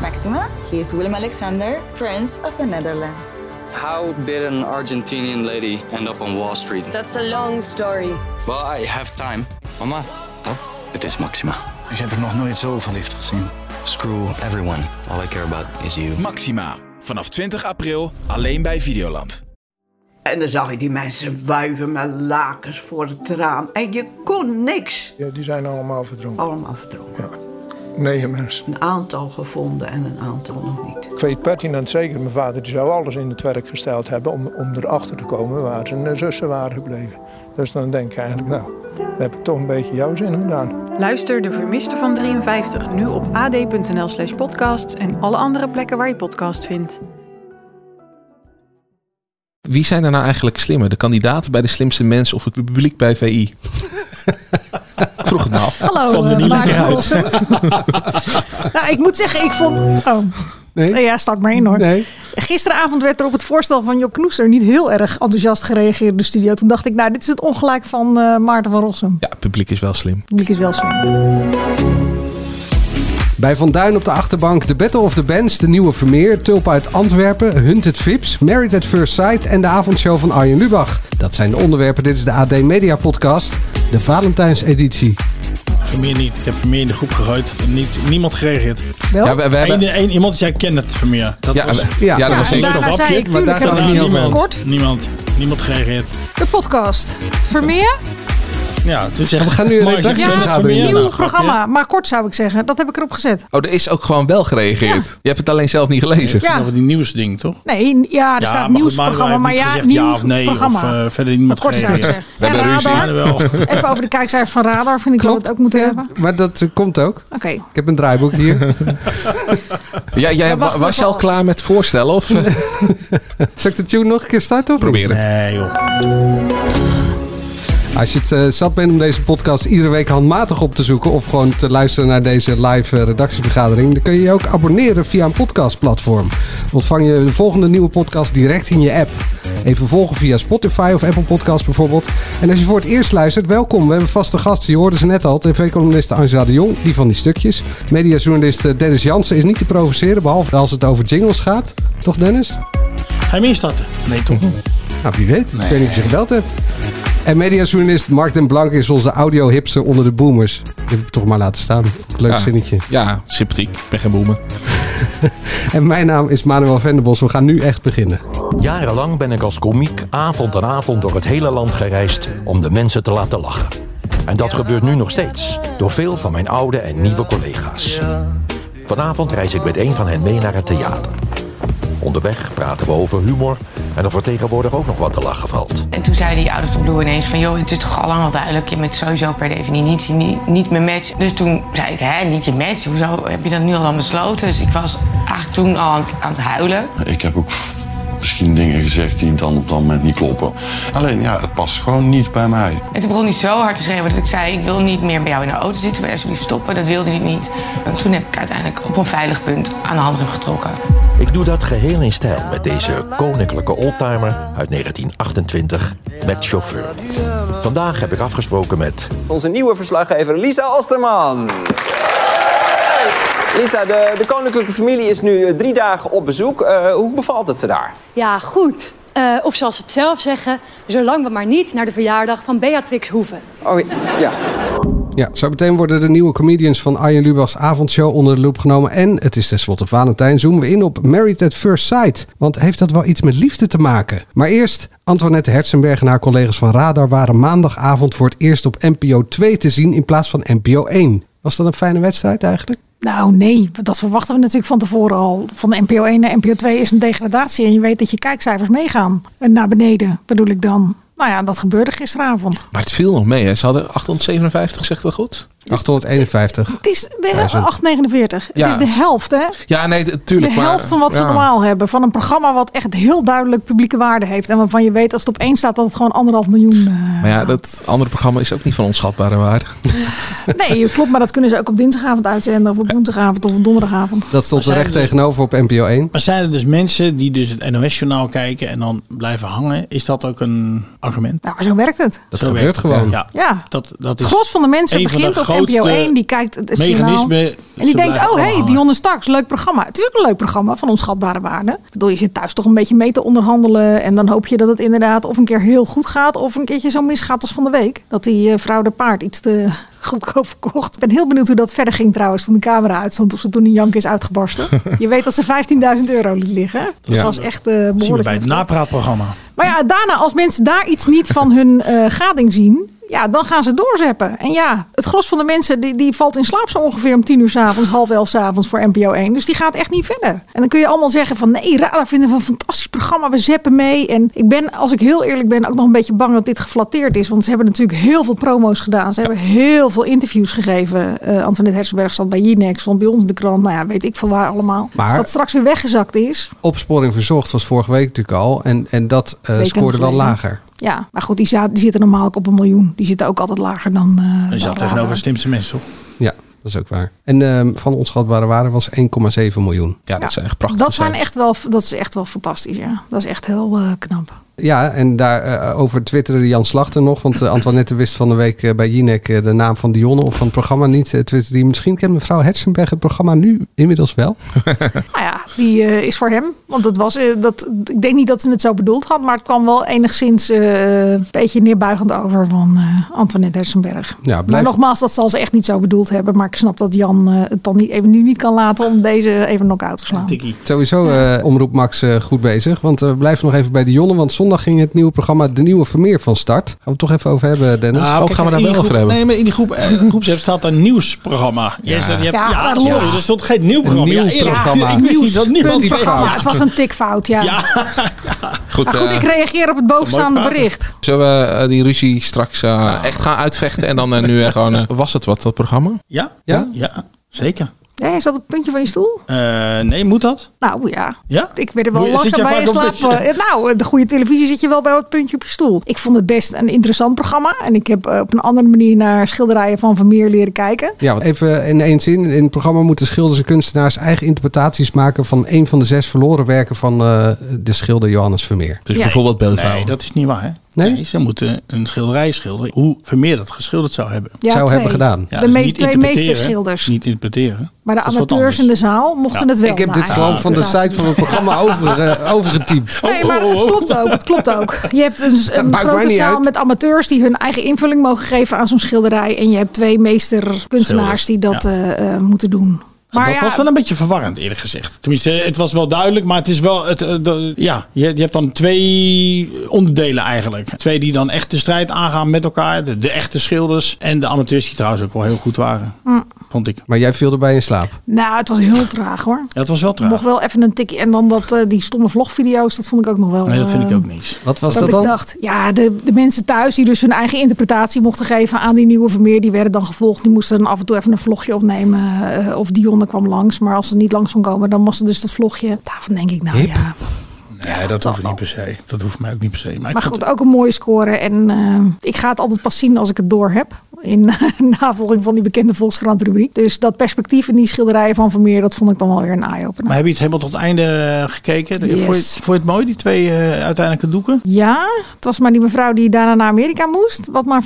Maxima. He is Willem Alexander, Prince of the Netherlands. How did an Argentinian lady end up on Wall Street? That's a long story. Well, I have time. Mama, Oh, Het is Maxima. Ik heb er nog nooit zo verliefd gezien. Screw everyone. All I care about is you. Maxima. Vanaf 20 april alleen bij Videoland. En dan zag je die mensen wuiven met lakens voor het raam. En je kon niks. Ja, die zijn allemaal verdronken. Allemaal verdrongen. Ja. Negen mensen. Een aantal gevonden en een aantal nog niet. Ik weet pertinent zeker, mijn vader die zou alles in het werk gesteld hebben om, om erachter te komen waar zijn eh, zussen waren gebleven. Dus dan denk je eigenlijk, nou, dan heb ik toch een beetje jouw zin gedaan. Luister De Vermiste van 53 nu op ad.nl slash podcasts en alle andere plekken waar je podcast vindt. Wie zijn er nou eigenlijk slimmer? De kandidaten bij de slimste mensen of het publiek bij VI? Ik Vroeg het nou. af. Hallo, Kwam er eh, niet Maarten lekker uit. Wolfsen. nou, ik moet zeggen, ik vond... Oh, nee, ja, start maar in hoor. Nee. Gisteravond werd er op het voorstel van Job Knoester niet heel erg enthousiast gereageerd in de studio. Toen dacht ik, nou, dit is het ongelijk van eh, Maarten van Rossum. Ja, het publiek is wel slim. Het publiek is wel slim. Bij Van Duin op de achterbank, de Battle of the Bands, de nieuwe Vermeer, Tulp uit Antwerpen, Hunted Vips, Married at First Sight en de avondshow van Arjen Lubach. Dat zijn de onderwerpen. Dit is de AD Media Podcast, de Valentijnseditie. Vermeer niet. Ik heb Vermeer in de groep gegooid. En niet, niemand gereageerd. Wel? Ja, we, we hebben... Eén, één, iemand die zei, ken het Vermeer. Dat Ja, was we- ja, dat was en zeker. daarna een zei grapje, ik, maar tuurlijk daar hebben we het gaan we niet niet over. over. Kort, niemand. Niemand gereageerd. de podcast. Vermeer, Ja, toen zegt We gaan nu een Mark, ik redactie- ben Ja, het een Vermeer. nieuw Nou, grapje. programma. Maar kort zou ik zeggen, dat heb ik erop gezet. Oh, er is ook gewoon wel gereageerd. Je hebt het alleen zelf niet gelezen. Ja. Dat was die nieuwsding, toch? Nee, ja, er Ja, staat maar goed, nieuwsprogramma, maar Maarten heeft ja, niet nieuw gezegd ja of nee, programma. of eh, verder niemand kort zou ik gereageerd. zeggen. We en hebben ruzie. Radar, Ja, wel. even over de kijkcijfers van Radar, vind ik dat we het ook moeten hebben. maar dat eh, komt ook. Oké, Ik heb een draaiboek hier. Ja, Eh, jij, Maar wacht wa- was je even al af. klaar met voorstellen of eh, Zal ik de tune nog een keer starten? of niet? probeer het? Nee, joh. Als je het eh, zat bent om deze podcast iedere week handmatig op te zoeken of gewoon te luisteren naar deze live eh, redactievergadering, dan kun je je ook abonneren via een podcastplatform. Ontvang je de volgende nieuwe podcast direct in je app. Even volgen via Spotify of Apple Podcasts bijvoorbeeld. En als je voor het eerst luistert, welkom. We hebben vaste gasten. Je hoorde ze net al. TV-columniste Angela de Jong, die van die stukjes. Mediajournalist eh, Dennis Jansen is niet te provoceren, behalve als het over jingles gaat. Toch Dennis? Ga je hem instarten? Nee, toch? Nou, wie weet. Ik weet niet of je gebeld hebt. En mediajournalist Mark den Blank is onze audio-hipster onder de boomers. Die heb ik toch maar laten staan. Vond ik Leuk Ja. zinnetje. Ja, sympathiek. Ik ben geen boemer. En mijn naam is Manuel Venderbos. We gaan nu echt beginnen. Jarenlang ben ik als komiek avond aan avond door het hele land gereisd om de mensen te laten lachen. En dat gebeurt nu nog steeds, door veel van mijn oude en nieuwe collega's. Vanavond reis ik met een van hen mee naar het theater. Onderweg praten we over humor en of er tegenwoordig ook nog wat te lachen valt. En toen zei die ouders op Blue ineens van... joh, het is toch al lang al duidelijk, je bent sowieso per definitie niet, niet, niet mijn match. Dus toen zei ik, hè, niet je match? Hoezo heb je dat nu al aan besloten? Dus ik was eigenlijk toen al aan het, aan het huilen. Ik heb ook misschien dingen gezegd die dan op dat moment niet kloppen. Alleen ja, het past gewoon niet bij mij. En toen begon hij zo hard te schreeuwen dat ik zei... ik wil niet meer bij jou in de auto zitten, wil je alsjeblieft stoppen? Dat wilde hij niet. En toen heb ik uiteindelijk op een veilig punt aan de handrem getrokken. Ik doe dat geheel in stijl met deze koninklijke oldtimer uit 1928 met chauffeur. Vandaag heb ik afgesproken met Onze nieuwe verslaggever Lisa Osterman. Lisa, de, de koninklijke familie is nu eh, drie dagen op bezoek. Eh, hoe bevalt het ze daar? Ja, goed. Eh, of zoals ze het zelf zeggen, zolang we maar niet naar de verjaardag van Beatrix hoeven. Oh, ja. Ja, zo meteen worden de nieuwe comedians van Arjen Lubach's avondshow onder de loep genomen. En het is tenslotte Valentijn. Zoomen we in op Married at First Sight. Want heeft dat wel iets met liefde te maken? Maar eerst, Antoinette Herzenberg en haar collega's van Radar waren maandagavond voor het eerst op NPO 2 te zien in plaats van NPO 1. Was dat een fijne wedstrijd eigenlijk? nou nee, dat verwachten we natuurlijk van tevoren al. Van de NPO 1 naar NPO 2 is een degradatie en je weet dat je kijkcijfers meegaan. Eh, Naar beneden bedoel ik dan. Nou ja, dat gebeurde gisteravond. Maar het viel nog mee. Hè. Ze hadden 857, zegt dat goed? 851. Het is de Ja, zo. 849. Ja. Het is de helft, hè? Ja, nee, t- tuurlijk. de maar- helft van wat ze ja. normaal hebben. Van een programma wat echt heel duidelijk publieke waarde heeft. En waarvan je weet als het op één staat dat het gewoon anderhalf miljoen... eh, Maar ja, dat andere programma is ook niet van onschatbare waarde. Nee, klopt, maar dat kunnen ze ook op dinsdagavond uitzenden, of op woensdagavond of op donderdagavond. Dat stond er Maar zijn recht er- tegenover op NPO 1. Maar zijn er dus mensen die dus het NOS-journaal kijken en dan blijven hangen? Is dat ook een argument. Nou, maar zo werkt het. Dat gebeurt gewoon. Ja. Ja. Dat, dat Het is gros van de mensen een van de begint op grootste NPO 1, die kijkt het journaal. mechanismen, En die ze denkt, blijven oh hé, hey, hangen. Dionne Starks, leuk programma. Het is ook een leuk programma van onschatbare waarde. Ik bedoel, je zit thuis toch een beetje mee te onderhandelen. En dan hoop je dat het inderdaad of een keer heel goed gaat... of een keertje zo misgaat als van de week. Dat die eh, vrouw de paard iets te goedkoop verkocht. Ik ben heel benieuwd hoe dat verder ging trouwens toen de camera uitstond... of ze toen een jank is uitgebarsten. je weet dat ze 15.000 euro liet liggen. hè? Dat Ja. was echt eh behoorlijk. Dat zien we bij het heftig. napraatprogramma. Maar ja, daarna, als mensen daar iets niet van hun eh, gading zien, ja, dan gaan ze doorzeppen. En ja, het gros van de mensen die, die valt in slaap zo ongeveer om tien uur s'avonds, half elf s'avonds voor NPO 1. Dus die gaat echt niet verder. En dan kun je allemaal zeggen van nee, Radar vinden we een fantastisch programma, we zeppen mee. En ik ben, als ik heel eerlijk ben, ook nog een beetje bang dat dit geflatteerd is. Want ze hebben natuurlijk heel veel promo's gedaan. Ze hebben heel veel interviews gegeven. Eh Antoinette Hersenberg zat bij Jinex, stond bij ons in de krant. Nou ja, weet ik van waar allemaal. Maar- Als dat straks weer weggezakt is, Opsporing Verzocht was vorige week natuurlijk al. En, en dat eh, Weken scoorde wel geleden. lager. Ja, maar goed, die, za- die zitten normaal ook op een miljoen. Die zitten ook altijd lager dan. eh, En dan je zat radar. tegenover de slimste mensen, toch? Ja, dat is ook waar. En ehm, van onschatbare waarde was 1,7 miljoen. Ja, dat zijn echt prachtige Dat, zijn echt wel, dat is echt wel fantastisch, ja. Dat is echt heel eh, knap. Ja, en daarover twitterde Jan Slachter nog. Want eh, Antoinette wist van de week eh, bij Jinek eh, de naam van Dionne of van het programma niet. eh, twitterde die. Misschien kent mevrouw Hetzenberg het programma nu inmiddels wel. Nou ja, die eh, is voor hem. Want dat was, eh, dat, ik denk niet dat ze het zo bedoeld had, maar het kwam wel enigszins eh, een beetje neerbuigend over van eh, Antoinette Hersenberg. Ja, blijf- Maar nogmaals, dat zal ze echt niet zo bedoeld hebben. Maar ik snap dat Jan eh, het dan niet, even nu niet kan laten om deze even knock-out te slaan. Sowieso eh, omroep Max eh, goed bezig. Want we blijven nog even bij Dionne. Want zondag ging het nieuwe programma De Nieuwe Vermeer van start. Gaan we het toch even over hebben, Dennis? Nou, Ook kijk, in die groep- Nee, maar in die groep, eh, groepsapp staat een nieuwsprogramma. Jij Ja. zegt, je hebt, Ja, ja, maar sorry, los. er stond geen nieuw programma. nieuw ja, eerlijk. programma. Ik wist niet dat niemand Punt die programma. Het was een tikfout, ja. Goed, maar Ah, goed, eh, ik reageer op het bovenstaande mooi praten. bericht. Zullen we eh, die ruzie straks eh, echt gaan uitvechten en dan eh, nu eh, gewoon... eh, was het wat, dat programma? Ja? Ja? Ja, zeker. Ja, is dat het puntje van je stoel? Eh, nee, moet dat? Nou ja. Ja? Ik werd er wel Moet je- zit langzaam jij bij in vaak slaap. op dat je- eh, Nou, de goede televisie zit je wel bij het puntje op je stoel. Ik vond het best een interessant programma. En ik heb eh, op een andere manier naar schilderijen van Vermeer leren kijken. Ja, want even in één zin. In het programma moeten schilders en kunstenaars eigen interpretaties maken van een van de zes verloren werken van eh, de schilder Johannes Vermeer. Dus Ja. bijvoorbeeld Nee, dat is niet waar. Hè? Nee? ze moeten een schilderij schilderen. Hoe Vermeer dat geschilderd zou hebben. Ja, Zou twee. hebben gedaan. De meest- dus niet twee interpreteren, meesterschilders. Niet interpreteren. Maar de Dat is wat amateurs in de zaal mochten Ja. het wel. Ik heb naar dit eigen gewoon van de interpretatie. Tijd van het programma over, eh, overgetypt. Nee, Oh, maar het klopt ook. Het klopt ook. Je hebt een, een maakt mij grote niet zaal uit. met amateurs die hun eigen invulling mogen geven aan zo'n schilderij. En je hebt twee meesterkunstenaars Schilders, die dat ja. eh, eh, moeten doen. Maar dat ja, was wel een beetje verwarrend, eerlijk gezegd. Tenminste, het was wel duidelijk, maar het is wel. Het, eh, de- ja, je, je hebt dan twee onderdelen eigenlijk. Twee die dan echt de strijd aangaan met elkaar. De, de echte schilders en de amateurs, die trouwens ook wel heel goed waren, Mm. vond ik. Maar jij viel erbij in slaap. nou, het was heel traag hoor. Ja, het was wel traag. Mocht wel even een tikje. En dan dat, eh, die stomme vlogvideo's, dat vond ik ook nog wel. Nee, dat vind ik eh, ook niks. Wat was dat, dat, ik dan? dacht, ja, de, de mensen thuis die dus hun eigen interpretatie mochten geven aan die nieuwe Vermeer, die werden dan gevolgd. Die moesten dan af en toe even een vlogje opnemen. eh, of Dionne kwam langs, maar als ze niet langs kon komen, dan was er dus dat vlogje. Daarvan denk ik, nou Hip. ja. Nee, dat hoeft niet per se. Dat hoeft mij ook niet per se. Maar, Maar ik- goed, eh, ook een mooie score. En eh, ik ga het altijd pas zien als ik het door heb. In navolging van die bekende Volkskrant rubriek. Dus dat perspectief in die schilderijen van Vermeer, dat vond ik dan wel weer een eye-opener. maar heb je het helemaal tot het einde eh, gekeken? Vond je- Yes. Vond je het mooi, die twee eh, uiteindelijke doeken? Ja, het was maar die mevrouw die daarna naar Amerika moest. Wat maar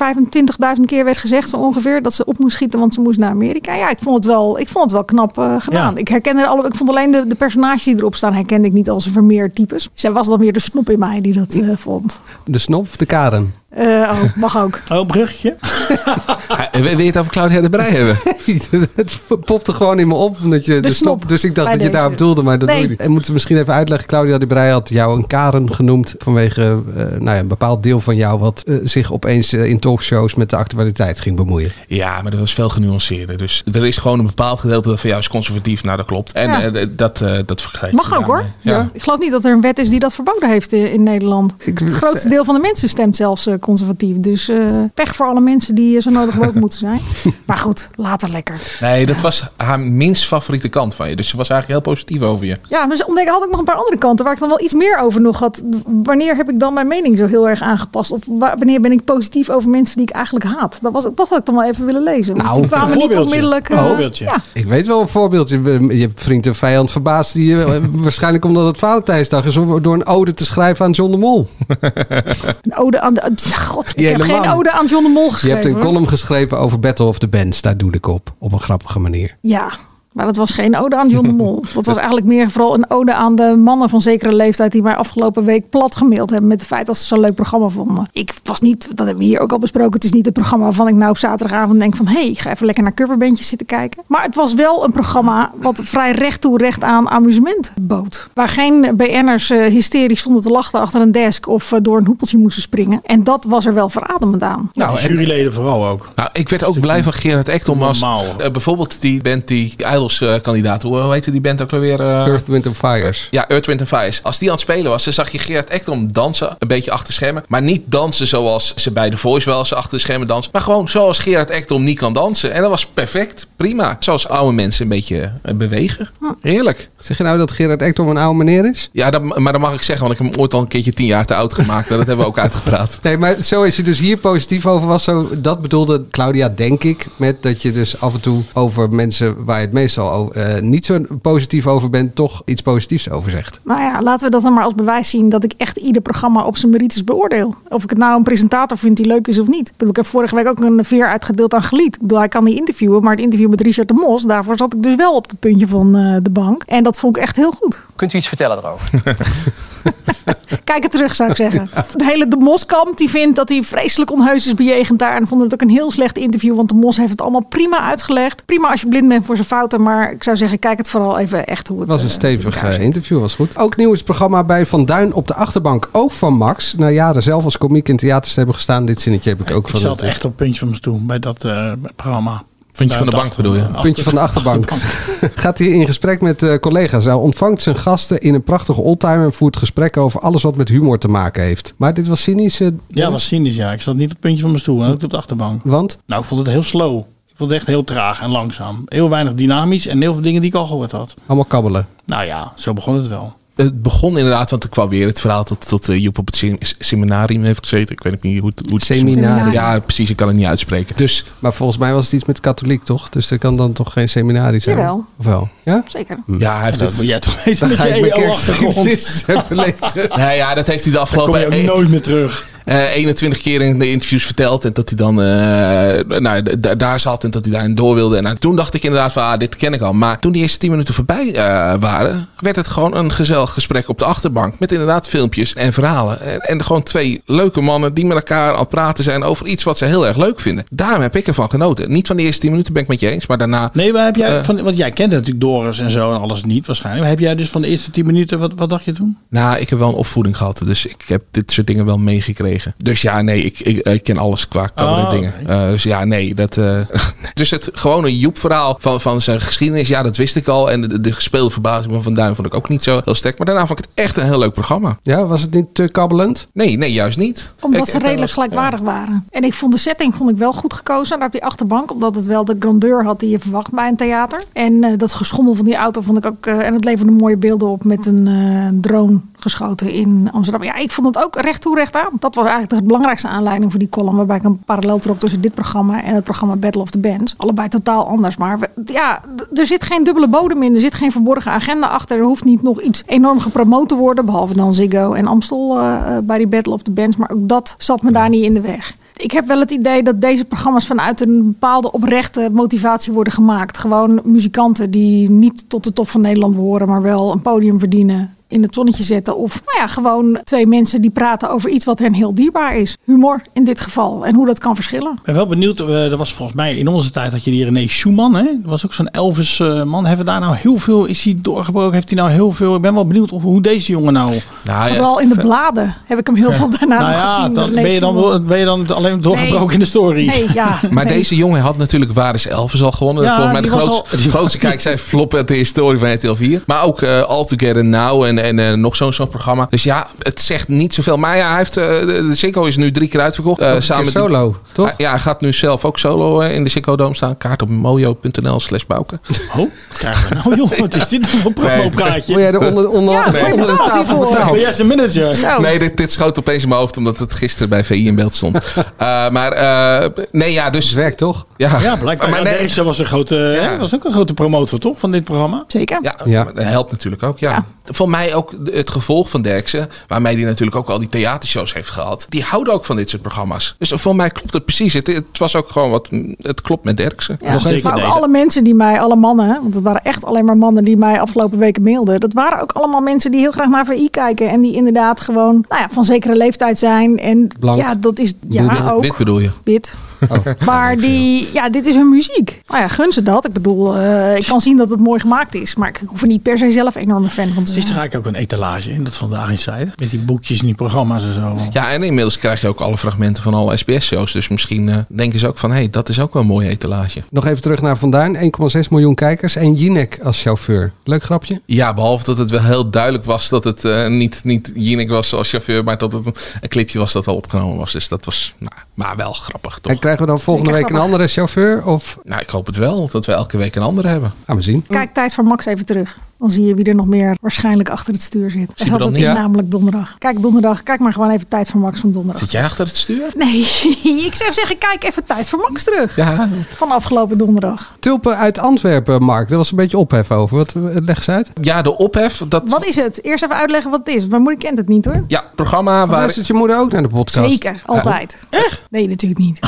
25.000 keer werd gezegd zo ongeveer. Dat ze op moest schieten, want ze moest naar Amerika. Ja, ik vond het wel, ik vond het wel knap eh, gedaan. Ja. Ik, herkende alle, ik vond alleen de, de personages die erop staan, herkende ik niet als Vermeer types. Zij was dan weer de snop in mij die dat eh, vond. De snop of de karen? Eh, oh, mag ook. Oh, bruggetje. Eh, Wil wil je het over Claudia de Brij hebben? het popte gewoon in me op omdat je de, snop, Dus ik dacht bij dat je deze. daarop doelde, maar dat Nee. doe je niet. En moeten we misschien even uitleggen. Claudia de Breij had jou een Karen genoemd vanwege eh, nou ja, een bepaald deel van jou wat eh, zich opeens eh, in talkshows met de actualiteit ging bemoeien. Ja, maar dat was veel genuanceerder. Dus er is gewoon een bepaald gedeelte dat van jou is conservatief. Nou, dat klopt. En Ja. eh, d- dat, eh dat vergelijk je Mag ook daarmee. hoor. Ja. Ik geloof niet dat er een wet is die dat verboden heeft in, in Nederland. Ik- Het grootste deel van de mensen stemt zelfs eh, conservatief. Dus eh, pech voor alle mensen die eh, zo nodig woke moeten zijn. Maar goed, later lekker. Nee, dat was haar minst favoriete kant van je. Dus ze was eigenlijk heel positief over je. Ja, dus ontdek had ik nog een paar andere kanten waar ik dan wel iets meer over nog had. Wanneer heb ik dan mijn mening zo heel erg aangepast? Of wa- wanneer ben ik positief over mensen die ik eigenlijk haat? Dat, was, dat had ik dan wel even willen lezen. Want die kwamen niet onmiddellijk. eh, ja. Ik weet wel een voorbeeldje. Je hebt vriend en vijand verbaasd. Die, je- eh, waarschijnlijk omdat het Valentijnsdag is. om- Door een ode te schrijven aan John de Mol. Een ode aan. de- God, ik Die heb hele geen man. ode aan John de Mol je geschreven. hebt een hoor. column geschreven over Battle of the Bands. Daar doe ik op. Op een grappige manier. Ja, maar dat was geen ode aan John de Mol. Dat was eigenlijk meer vooral een ode aan de mannen van zekere leeftijd die mij afgelopen week plat gemaild hebben met het feit dat ze zo'n leuk programma vonden. Ik was niet, dat hebben we hier ook al besproken, het is niet het programma waarvan ik nou op zaterdagavond denk van hé, hey, ik ga even lekker naar coverbandjes zitten kijken. Maar het was wel een programma wat vrij recht toe recht aan amusement bood. Waar geen BN'ers eh, hysterisch stonden te lachen achter een desk of eh, door een hoepeltje moesten springen. En dat was er wel verademend aan. Nou, juryleden vooral ook. Nou, ik werd ook blij van Gerard Ekdom als eh, bijvoorbeeld die band die Idols eh, kandidaat, hoe heette die band ook alweer? eh? Earth, Wind and Fires. Ja, Earth, Wind and Fires. Als die aan het spelen was, dan zag je Gerard Ekdom dansen, een beetje achter schermen. Maar niet dansen zoals ze bij The Voice wel eens achter de schermen dansen. Maar gewoon zoals Gerard Ekdom niet kan dansen. En dat was perfect, prima. Zoals oude mensen een beetje eh, bewegen. Heerlijk. Zeg je nou dat Gerard Ekdom een oude meneer is? Ja, dat, maar dat mag ik zeggen, want ik heb hem ooit al een keertje tien jaar te oud gemaakt. En dat hebben we ook uitgepraat. Nee, maar zo is je dus hier positief over was. Zo, dat bedoelde Claudia, denk ik, met dat je dus af en toe over mensen waar je het meestal over, eh, niet zo positief over bent, toch iets positiefs over zegt. Nou ja, laten we dat dan maar als bewijs zien dat ik echt ieder programma op zijn merites beoordeel. Of ik het nou een presentator vind die leuk is of niet. Ik, bedoel, ik heb vorige week ook een veer uitgedeeld aan Gelied. Ik bedoel, hij kan niet interviewen, maar het interview met Richard de Mos, daarvoor zat ik dus wel op het puntje van eh, de bank. En dat vond ik echt heel goed. Kunt u iets vertellen erover? Kijk het terug, zou ik zeggen. De hele De Moskamp die vindt dat hij vreselijk onheus is bejegend daar. En vond het ook een heel slecht interview, want De Mos heeft het allemaal prima uitgelegd. Prima als je blind bent voor zijn fouten, maar ik zou zeggen, kijk het vooral even echt hoe het... Het was een stevig eh, interview, was goed. Ook nieuwsprogramma bij Van Duin op de achterbank, ook van Max. Na jaren zelf als komiek in theaters te hebben gestaan, dit zinnetje heb ik ook Ik van zat het- echt op het puntje van mijn stoel bij dat eh, programma. Puntje van de bank bedoel je? eh, Puntje van de achterbank. Gaat hij in gesprek met eh, collega's. Hij ontvangt zijn gasten in een prachtige oldtimer en voert gesprekken over alles wat met humor te maken heeft. Maar dit was cynisch. eh, Ja, dat was cynisch, ja. Ik zat niet op het puntje van mijn stoel en ook op de achterbank. Want? Nou, ik vond het heel slow. Ik vond het echt heel traag en langzaam. Heel weinig dynamisch en heel veel dingen die ik al gehoord had. allemaal kabbelen. Nou ja, zo begon het wel. Het begon inderdaad, want ik kwam weer het verhaal dat, dat eh, Joep op het sem- seminarium heeft gezeten. Ik weet ook niet hoe het... Hoe het Seminarium. Ja, precies. Ik kan het niet uitspreken. Dus Maar volgens mij was het iets met katholiek, toch? Dus er kan dan toch geen seminarie zijn? Jawel. Of wel? Ja? Zeker. Ja, hij heeft Hm. dat het- moet jij toch weten Dan met ga je ik mijn EO-achtergrond. kerkgeschiedenis even lezen. Nee, ja, dat heeft hij de Kom afgelopen je ook eh, nooit meer terug. eh, 21 keer in de interviews verteld. En dat hij dan eh, nou, d- d- daar zat en dat hij daarin door wilde. En nou, toen dacht ik inderdaad van, ah, dit ken ik al. Maar toen die eerste 10 minuten voorbij eh, waren, werd het gewoon een gezellig gesprek op de achterbank. Met inderdaad filmpjes en verhalen. En, en gewoon twee leuke mannen die met elkaar aan het praten zijn over iets wat ze heel erg leuk vinden. Daarom heb ik ervan genoten. Niet van de eerste 10 minuten ben ik met je eens, maar daarna... Nee, maar heb jij, Eh. van, want jij kent natuurlijk Doris en zo en alles niet waarschijnlijk. Maar heb jij dus van de eerste 10 minuten, wat, wat dacht je toen? Nou, ik heb wel een opvoeding gehad, dus ik heb dit soort dingen wel meegekregen. Dus ja, nee, ik, ik, ik ken alles qua komende Ah, dingen. Eh, dus ja, nee, dat... eh, dus het gewone Joep-verhaal van, van zijn geschiedenis, ja, dat wist ik al. En de, de gespeelde verbazing van Van Duin vond ik ook niet zo heel sterk. Maar daarna vond ik het echt een heel leuk programma. Ja, was het niet te kabbelend? Nee, nee, juist niet. Omdat Ik- ze ik- redelijk gelijkwaardig waren. En ik vond de setting vond ik wel goed gekozen. Daar op die achterbank. Omdat het wel de grandeur had die je verwacht bij een theater. En eh, dat geschommel van die auto vond ik ook... eh, en het leverde mooie beelden op met een eh, drone geschoten in Amsterdam. Ja, ik vond het ook recht toe recht aan. Dat was eigenlijk de belangrijkste aanleiding voor die column. Waarbij ik een parallel trok tussen dit programma en het programma Battle of the Bands. Allebei totaal anders. Maar we- ja, d- er zit geen dubbele bodem in. Er zit geen verborgen agenda achter. Er hoeft niet nog iets enorm gepromoot te worden. Behalve dan Ziggo en Amstel eh, eh, bij die Battle of the Bands. Maar ook dat zat me daar niet in de weg. Ik heb wel het idee dat deze programma's vanuit een bepaalde oprechte motivatie worden gemaakt. Gewoon muzikanten die niet tot de top van Nederland behoren, maar wel een podium verdienen. In het zonnetje zetten. Of nou ja, gewoon twee mensen die praten over iets wat hen heel dierbaar is. Humor in dit geval. En hoe dat kan verschillen. Ik ben wel benieuwd, eh, er was volgens mij in onze tijd dat je die René Schumann, hè? dat was ook zo'n Elvis eh, man. Hebben we daar nou heel veel, is hij doorgebroken? Heeft hij nou heel veel? Ik ben wel benieuwd of, hoe deze jongen nou... Nou, Vooral in de bladen heb ik hem heel veel daarna nou nog ja, gezien. Dan, René ben, je Schumann. dan, ben je dan alleen doorgebroken Nee. in de story? Nee, ja. Maar nee. deze jongen had natuurlijk Waar is Elvis al gewonnen. Ja, Volgens mij de die was grootste, de grootste kijk zijn flop uit de historie van RTL 4. Maar ook eh All Together Now en en, en eh, nog zo'n zo'n programma. Dus ja, het zegt niet zoveel. Maar ja, hij heeft, eh, de de Ziggo is nu drie keer uitverkocht. eh, Ook een keer die- solo, toch? Hij- ja, hij gaat nu zelf ook solo eh, in de Ziggo Dome staan. Kaart op mojo.nl slash bouken. Oh, krijgen we nou joh, wat is dit nou voor promopraatje? Oh, Wil jij er onder, onder, onder, de tafel Nou. Ben jij betaald? zijn manager? Oh. Nee, dit, dit schoot opeens in mijn hoofd omdat het gisteren bij VI in beeld stond. Eh, maar eh, nee, ja, dus... Het werkt toch? Ja, Ja, blijkbaar. Maar Maar nee, Denkse was, een grote, hè, was ook een grote promotor, toch? Van dit programma? Zeker. Ja, maar dat helpt natuurlijk ook. Ja. Voor mij ook de- het gevolg van Derksen, waarmee hij natuurlijk ook al die theatershows heeft gehad. Die houden ook van dit soort programma's. Dus voor mij klopt het precies. Het, het was ook gewoon wat. Het klopt met Derksen. Ja, maar ook alle mensen die mij, alle mannen, want het waren echt alleen maar mannen die mij afgelopen weken mailden. Dat waren ook allemaal mensen die heel graag naar VI kijken. En die inderdaad gewoon nou ja, van zekere leeftijd zijn. En Blank. ja, dat is ja, dit, Oh. ook. dit bedoel je. Wit. Maar die, ja, dit is hun muziek. Nou ja, gun ze dat. Ik bedoel, eh, ik kan zien dat het mooi gemaakt is. Maar ik hoef er niet per se zelf een enorme fan van te zijn. Gisteren ga ik ook een etalage in, dat vandaag in Zijde. Met die boekjes en die programma's en zo. Ja, en inmiddels krijg je ook alle fragmenten van alle SBS-shows. Dus misschien eh, denken ze ook van: hé, hey, dat is ook wel een mooie etalage. Nog even terug naar Vandaan. 1,6 miljoen kijkers en Jinek als chauffeur. Leuk grapje. Ja, behalve dat het wel heel duidelijk was dat het eh, niet, niet Jinek was als chauffeur, maar dat het een, een clipje was dat al opgenomen was. Dus dat was nou, maar wel grappig. Toch? En krijgen we dan volgende Lekker week een grappig. andere chauffeur? Of Nou, ik hoop het wel dat we elke week een andere hebben. gaan we zien. Hm. Kijk tijd voor Max even terug. Dan zie je wie er nog meer waarschijnlijk achter het stuur zit. Zie je Hij dan had het niet? is Ja. namelijk donderdag. Kijk donderdag. Kijk maar gewoon even tijd voor Max van donderdag. Zit jij achter het stuur? Nee, ik zou zeggen, kijk even tijd voor Max terug. Ja. Van afgelopen donderdag. Tulpen uit Antwerpen, Mark. Daar was een beetje ophef over. Wat, eh, leg eens uit. Ja, de ophef. Dat, Wat is het? Eerst even uitleggen wat het is. Mijn moeder kent het niet hoor. ja, Oh, programma waar... Luistert je moeder ook naar de podcast? Nou, Zeker, altijd. Echt? Nee, natuurlijk niet.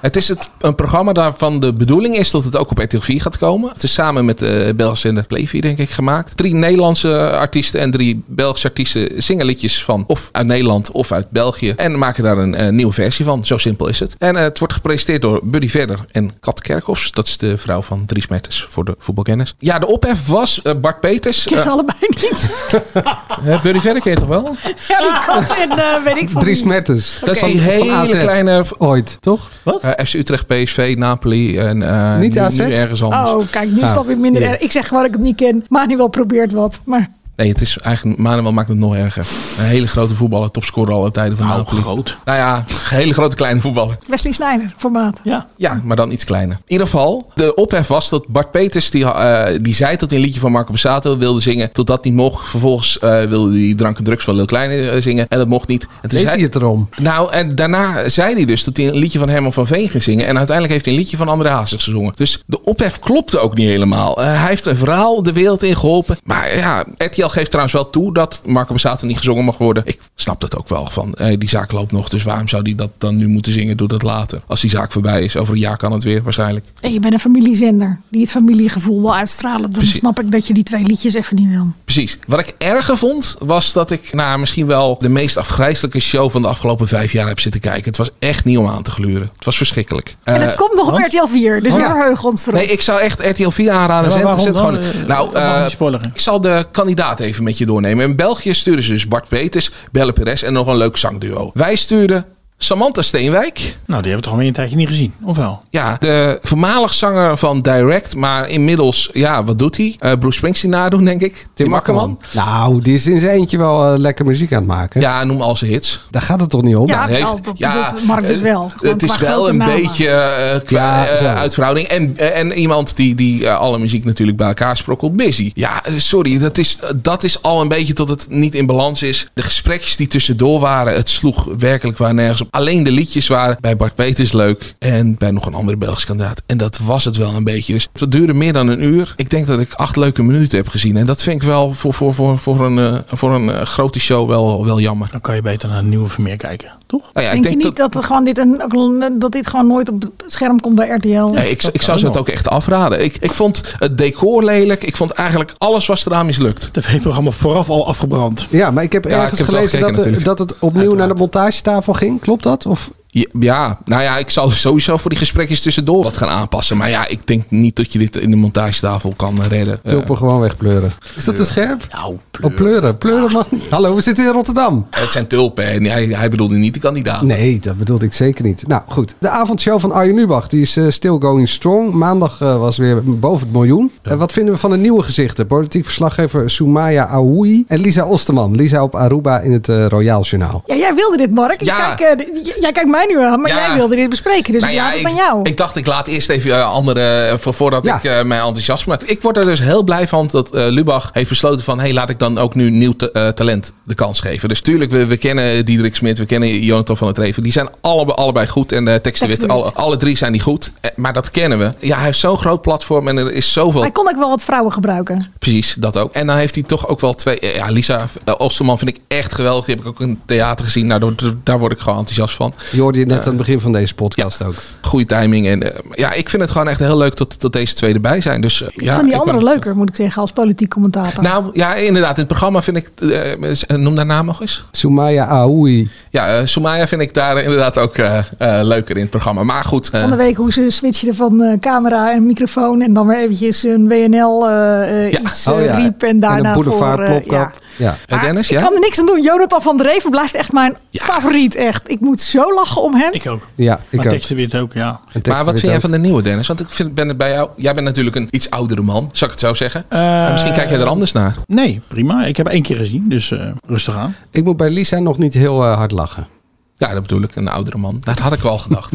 Het is het, een programma daarvan de bedoeling is dat het ook op E RTL 4 gaat komen. Het is samen met de Belgische zender Play4 denk ik gemaakt. Drie Nederlandse artiesten en drie Belgische artiesten zingen liedjes van of uit Nederland of uit België. En maken daar een eh, nieuwe versie van. Zo simpel is het. En eh, het wordt gepresenteerd door Buddy Verder en Kat Kerkhoffs. Dat is de vrouw van Dries Mertens voor de voetbalkennis. Ja, de ophef was eh, Bart Peters. Ik ken ze Eh, allebei niet. eh, Buddy Verder ken je toch wel? Ja, die kat en eh, weet ik van Dries wie. Mertens. Dat is Oké. die Van AZ. hele kleine... Ooit, toch? eh, FC Utrecht, PSV, Napoli en eh, Niet nu, AZ? nu ergens anders. Oh, kijk, nu Ah, stap ik minder hier. erg. Ik zeg gewoon dat ik het niet ken. Manuel probeert wat. Maar Nee, het is eigenlijk. Manuel maakt het nog erger. Een hele grote voetballer, topscorer alle tijden van Nou, Napoli. groot. Nou ja, een hele grote kleine voetballer. Wesley Sneijder, formaat. Ja. Ja, maar dan iets kleiner. In ieder geval, de ophef was dat Bart Peters, die, eh, die zei dat hij een liedje van Marco Bassato wilde zingen. Totdat hij mocht. Vervolgens eh, wilde hij Drank en Drugs van Lil Kleine eh, zingen. En dat mocht niet. En toen Deed zei- hij het erom? Nou, en daarna zei hij dus dat hij een liedje van Herman van Veen ging zingen. En uiteindelijk heeft hij een liedje van André Hazes gezongen. Dus de ophef klopte ook niet helemaal. Eh, hij heeft een verhaal de wereld in geholpen. Maar ja, RTL geeft trouwens wel toe dat Marco Bassato niet gezongen mag worden. Ik snap dat ook wel van. eh, die zaak loopt nog, dus waarom zou hij dat dan nu moeten zingen? Doe dat later. Als die zaak voorbij is. Over een jaar kan het weer waarschijnlijk. En je bent een familiezender die het familiegevoel wil uitstralen. Dan Precies. snap ik dat je die twee liedjes even niet wil. Precies. Wat ik erger vond, was dat ik naar misschien wel de meest afgrijzelijke show van de afgelopen vijf jaar heb zitten kijken. Het was echt niet om aan te gluren. Het was verschrikkelijk. En Eh, het komt nog op want- RTL 4, dus we Ja. verheugen ons erop. Nee, ik zou echt RTL 4 aanraden. Ja, Zet- maar zet waarom dan? gewoon, Eh, nou, dat mag eh, niet spoileren. ik zal de kandidaat even met je doornemen. In België sturen ze dus Bart Peters, Belle Perez en nog een leuk zangduo. Wij sturen Samantha Steenwijk. Nou, die hebben we toch alweer een tijdje niet gezien, of wel? Ja, de voormalig zanger van Direct. Maar inmiddels, ja, wat doet hij? Eh, Bruce Springsteen nadoen, denk ik. Tim, Akkerman. Nou, die is in zijn eentje wel eh, lekker muziek aan het maken. Ja, noem al zijn hits. Daar gaat het toch niet om? Ja, Hij wel, dat bedoelt Mark dus eh, wel. Gewoon Het is qua wel grote een namen. beetje eh qua Ja, eh, zo. uitverhouding. En, eh, en iemand die, die eh, alle muziek natuurlijk bij elkaar sprokkelt. Busy. Ja, eh, sorry. Dat is, dat is al een beetje tot het niet in balans is. De gesprekjes die tussendoor waren, het sloeg werkelijk waar nergens op. Alleen de liedjes waren bij Bart Peters leuk. En bij nog een andere Belgisch kandidaat. En dat was het wel een beetje. Dus het duurde meer dan een uur. Ik denk dat ik acht leuke minuten heb gezien. En dat vind ik wel voor, voor, voor, voor een, eh, voor een eh, grote show wel, wel jammer. Dan kan je beter naar het Nieuwe Vermeer kijken, toch? Nou ja, denk, je niet dat, er gewoon dit een, ook- dat dit gewoon nooit op het scherm komt bij RTL? Nee, ik, ik zou ze dat ook echt afraden. Ik, ik vond het decor lelijk. Ik vond eigenlijk alles was eraan mislukt. TV-programma vooraf al afgebrand. Ja, maar ik heb Ja, ergens ik heb het wel gelezen gekeken dat, natuurlijk. dat het opnieuw naar de montagetafel ging. Klopt dat? Of Ja, ja, nou ja, ik zal sowieso voor die gesprekjes tussendoor wat gaan aanpassen. Maar ja, ik denk niet dat je dit in de montagetafel kan redden. Eh, Tulpen gewoon wegpleuren. Is dat te scherp? Nou, pleuren. Oh, pleuren. Pleuren, man. Hallo, we zitten in Rotterdam. Eh, het zijn tulpen en hij, hij bedoelde niet de kandidaat. Nee, dat bedoelde ik zeker niet. Nou, goed. De avondshow van Arjen Lubach, die is eh, still going strong. Maandag eh, was weer boven het miljoen. En wat vinden we van de nieuwe gezichten? Politiek verslaggever Soumaya Aoui en Lisa Osterman. Lisa op Aruba in het eh, Royaal Journaal. Ja, jij wilde dit, Mark. Dus Ja. Kijk, eh, j- jij kijkt mij nu aan, maar Ja. jij wilde dit bespreken. Dus Nou ik ja, laat het ik, aan jou. ik dacht, ik laat eerst even eh, anderen, eh, voor- voordat ik eh, mijn enthousiasme... Ik word er dus heel blij van dat eh, Lubach heeft besloten van... hé, hey, laat ik dan ook nu nieuw ta- eh, talent de kans geven. Dus tuurlijk, we, we kennen Diederik Smit, we kennen Jonathan van het Reven. Die zijn alle, allebei goed en eh Tex de Wit, Tex de Wit. alle, alle drie zijn die goed. Eh, maar dat kennen we. Ja, hij heeft zo'n groot platform en er is zoveel... Hij kon ook wel wat vrouwen gebruiken. Precies, dat ook. En dan heeft hij toch ook wel twee. eh, Ja, Lisa eh, Osterman vind ik echt geweldig. Die heb ik ook in het theater gezien. Nou, daar- daar word ik gewoon enthousiast van. Je hoorde je net aan het begin van deze podcast ook. Goede timing. En eh, ja, ik vind het gewoon echt heel leuk dat, dat deze twee erbij zijn. Dus, eh, ik ja, vond die ik andere ben- leuker, moet ik zeggen, als politiek commentator. Nou ja, inderdaad. In het programma vind ik. eh, noem haar naam nog eens. Soumaya Aoui. Ja, eh Soumaya vind ik daar inderdaad ook eh, eh, leuker in het programma. Maar goed. eh, van de week hoe ze switchten van eh, camera en microfoon en dan weer eventjes een WNL eh, eh, Ja. iets Oh eh, ja. riep en daarna voor... eh, ja. ja. Eh, Dennis, Ik ja? kan er niks aan doen. Jonathan van der Reven blijft echt mijn favoriet. Echt. Ik moet zo lachen om hem. Ik ook. Ja, ik maar ook. tekst de Wit ook, ja. Maar wat vind jij van de nieuwe Dennis? Want ik vind, ben het bij jou. Jij bent natuurlijk een iets oudere man, zou ik het zo zeggen. maar misschien kijk jij er anders naar. Nee, prima. Ik heb één keer gezien, dus eh, rustig aan. Ik moet bij Lisa nog niet heel eh, hard lachen. Ja, dat bedoel ik, een oudere man. Dat had ik wel gedacht.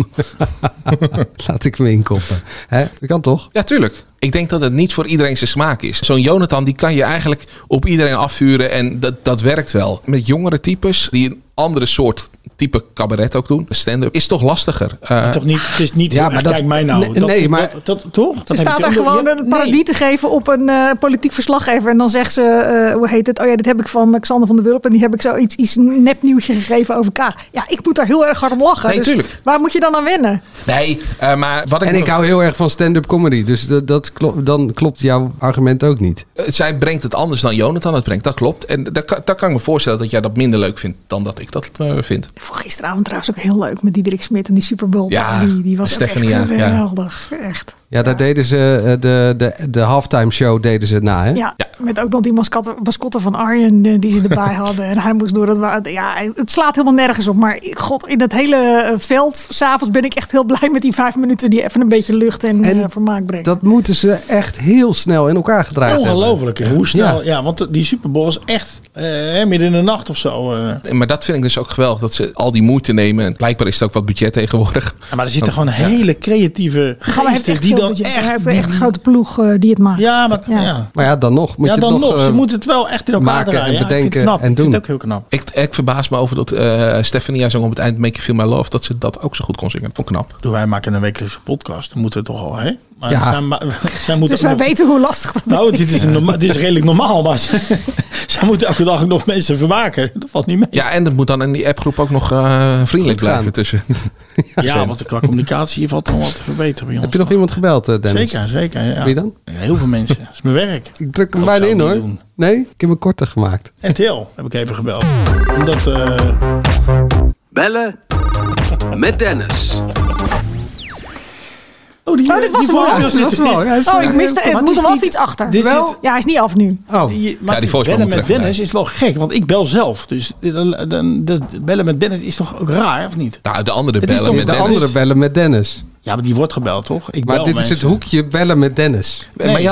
Laat ik me inkoppen. Hè? Dat kan toch? Ja, tuurlijk. Ik denk dat het niet voor iedereen zijn smaak is. Zo'n Jonathan, die kan je eigenlijk op iedereen afvuren en dat, dat werkt wel. Met jongere types, die een andere soort type cabaret ook doen, stand-up, is toch lastiger. Eh, toch niet, het is niet... Ja, Ja, maar maar dat- kijk mij nou. nee, nee, maar- Dat, dat- toch? Dat Ze heb staat je daar ook- gewoon Ja, een parodie te geven op een eh, politiek verslaggever. En dan zegt ze, eh, hoe heet het? Oh ja, dit heb ik van Xander van der Wulp. En die heb ik zo iets, iets nepnieuwtje gegeven over K. Ja, ik moet daar heel erg hard om lachen. Nee, Dus tuurlijk. Waar moet je dan aan wennen? nee, eh, maar wat ik... En ik hou heel erg van stand-up comedy. Dus dat, dat klo- dan klopt jouw argument ook niet. Eh, Zij brengt het anders dan Jonathan het brengt, dat klopt. En dat, kan- dat kan ik me voorstellen dat jij dat minder leuk vindt dan dat ik dat eh, vind. Ik vond gisteravond trouwens ook heel leuk met Diederik Smit en die Superbowl. Ja, die, die was ook echt Stephanie, ja, ja. geweldig. Echt. Ja, daar deden ze eh, de, de, de halftime show deden ze na, hè? Ja, met ook dan die mascotte, mascotte van Arjen eh, die ze erbij hadden. En hij moest door het wa- Ja, het slaat helemaal nergens op. Maar god, in dat hele eh, veld, s'avonds ben ik echt heel blij met die vijf minuten die even een beetje lucht en, eh, vermaak brengen. Dat moeten ze echt heel snel in elkaar gedraaid hebben. Ongelooflijk, hè, hoe snel. Ja. Ja, want die Super Bowl is echt eh, hè, midden in de nacht of zo. eh. Eh, Maar dat vind ik dus ook geweldig, dat ze al die moeite nemen. En blijkbaar is het ook wat budget tegenwoordig. Maar er zitten Want- gewoon hele creatieve Gaan we echt geesten die veel dan budget. We echt... hebben die- echt een grote ploeg eh, die het maakt. Ja, maar ja. Maar ja, dan nog. Moet ja, je dan het nog. eh, Ze moeten het wel echt in elkaar maken en draaien. Ja, ik vind het bedenken knap. en Ik vind doen. het ook heel knap. Ik, ik verbaas me over dat eh Stefania zong op het eind Make You Feel My Love. Dat ze dat ook zo goed kon zingen. Vond ik knap. Doe, wij maken een wekelijkse podcast. Dan moeten we toch al, hè? Maar Ja. zij, ma- zij moeten Dus wij ook nog- weten hoe lastig dat Nou, is. dit is, een norma- dit is redelijk normaal, maar ze- zij moeten elke dag ook nog mensen vermaken. Dat valt niet mee. Ja, en dat moet dan in die appgroep ook nog eh, vriendelijk Goed gaan. blijven tussen. Ja, want qua communicatie hier valt nog wat te verbeteren bij ons. Heb je nog iemand gebeld, eh, Dennis? Zeker, zeker. Ja. Wie dan? Ja, heel veel mensen. Dat is mijn werk. Ik druk Dat hem bijna zou in, ik hoor. niet doen. Nee, ik heb hem korter gemaakt. NTL heb ik even gebeld. Omdat... eh, Bellen met Dennis. Oh, die, Oh, dit was die hem al. voicemail zit Dat was erin. hem al, ja, is- Oh, ik miste- het Maar moet is er wel niet- iets achter. dit Wel- zit- ja, hij is niet af nu. Oh. Die, maar die voicemail bellen moet met er even Dennis is wel gek, want ik bel zelf. Dus eh, dan, dan- dat bellen met Dennis is toch ook raar, of niet? Nou, de andere Het is bellen toch met De Dennis. andere bellen met Dennis. Ja, maar die wordt gebeld, toch? Ik Maar bel dit mensen. is het hoekje bellen met Dennis. Nee. nee,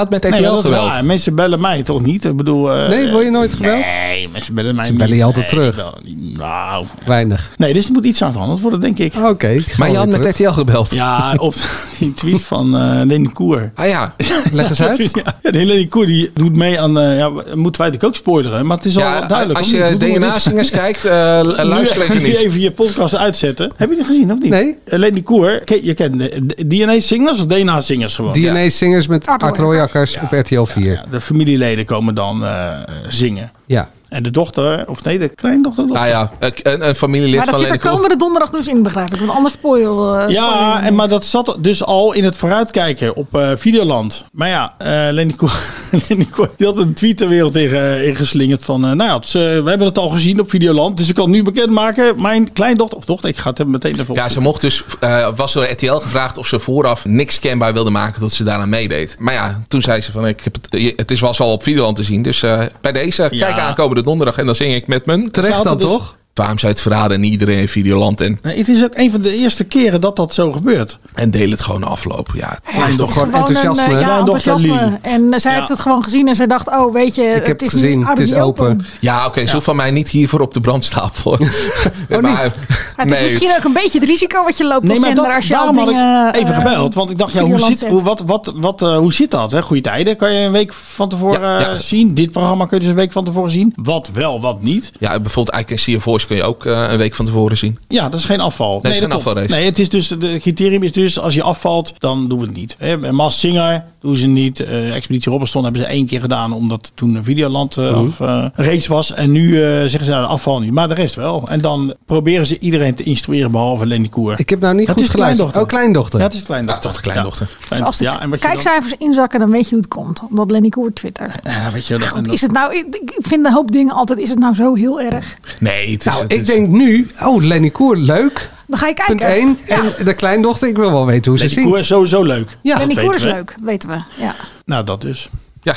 dat is waar. Mensen bellen mij toch niet? Ik bedoel, eh, Nee, word je nooit gebeld? Nee, mensen bellen mij Ze bellen niet. je altijd Nee, terug. die bellen niet. Nou. Weinig. Nee, dus er moet iets aan veranderd worden, denk ik. Oké. Maar je had met RTL gebeld. Ja, op die tweet van eh Lenny Koer. Ah ja, leg eens uit. Ja, ja, die Lenny Koer die doet mee aan... eh, ja, moeten wij natuurlijk ook spoileren, maar het is al Ja, duidelijk. als of niet? je Hoe doen we dit? DNA-zingers kijkt, eh, Nu- luister even nu niet. even je podcast uitzetten. Heb je dat gezien of niet? Nee. Eh, Lenny Koer, ken- je kent DNA-zingers of DNA-zingers gewoon? DNA-zingers met Art Royakkers op RTL 4. Ja, de familieleden komen dan eh, zingen. Ja. En de dochter, of nee, de kleindochter. Nou ja, een, een familielid Maar dat van zit er Lene Kroes. komende donderdag dus in, begrijp ik. Want anders spoil... eh, spoiler Ja, je. en maar dat zat dus al in het vooruitkijken op eh, Videoland. Maar ja, eh Lenny Ko- Lenny Ko- die had een tweet de wereld in, eh, ingeslingerd van... eh, nou ja, het is, eh, we hebben het al gezien op Videoland, dus ik kan nu bekendmaken. Mijn kleindochter, of dochter, ik ga het hem meteen even op. Ja, ze mocht dus, eh, was door RTL gevraagd of ze vooraf niks kenbaar wilde maken dat ze daaraan meedeed. Maar ja, toen zei ze van, ik heb het, je- het is was al op Videoland te zien, dus eh, bij deze, kijk aankomende donderdag en dan zing ik met mijn... Terecht Ze hadden dan, dus- toch? Waarom zou je het verraden en iedereen in Videoland en, Nee, het is ook een van de eerste keren dat dat zo gebeurt. en deel het gewoon na afloop? Ja, Ja, het is een, eh, ja, enthousiasme. En eh, zij Ja. heeft het gewoon gezien en zij dacht, oh weet je, het, is nu already Ja, Oh, oké, zo van mij niet hiervoor op de brandstapel. hoor. Maar, Maar het is nee, misschien ook een beetje het risico wat je loopt als maar zender als je al daarom had dingen... ik even eh, gebeld. Want ik dacht, ja, hoe, Videoland zit, zet. hoe, wat, wat, wat, eh, hoe zit dat? Hè? Goede tijden kan je een week van tevoren Ja, ja. eh, zien. Dit programma kun je dus een week van tevoren zien. Wat wel, wat niet. ja, bijvoorbeeld I Can See Your Voice kun je ook eh, een week van tevoren zien. Ja, dat is geen afval. Nee, is geen dat klopt. afvalrace. Nee, het is dus, de criterium is dus, als je afvalt, dan doen we het niet. Hè, Mas Singer doen ze niet. Eh, Expeditie Robinson hebben ze één keer gedaan, omdat toen een Videoland eh, Mhm. of, eh, reeks was. En nu eh, zeggen ze, nou, de afval niet. Maar de rest wel. En dan proberen ze iedereen te instrueren, behalve Lenny Koer. Ik heb nou niet Dat goed is geluisterd. kleindochter. Oh, kleindochter. Ja, het is kleindochter. toch de kleindochter. Dus als de ja, en wat je dan- kijkcijfers inzakken, dan weet je hoe het komt. Omdat Lenny Koer twittert. Ja, weet je, dat- en dat- Is het nou, ik ik vind een hoop dingen altijd, is het nou zo heel erg? Nee, Dus het is... Nou, ik denk nu, oh, Lenny Koer, leuk. Dan ga je kijken. Punt 1. En de kleindochter, ik wil wel weten hoe ze Lenny zingt. Koer is sowieso leuk. Ja, Dat Lenny Koer is weten we. leuk, weten we. Ja. Nou, dat dus. Ja.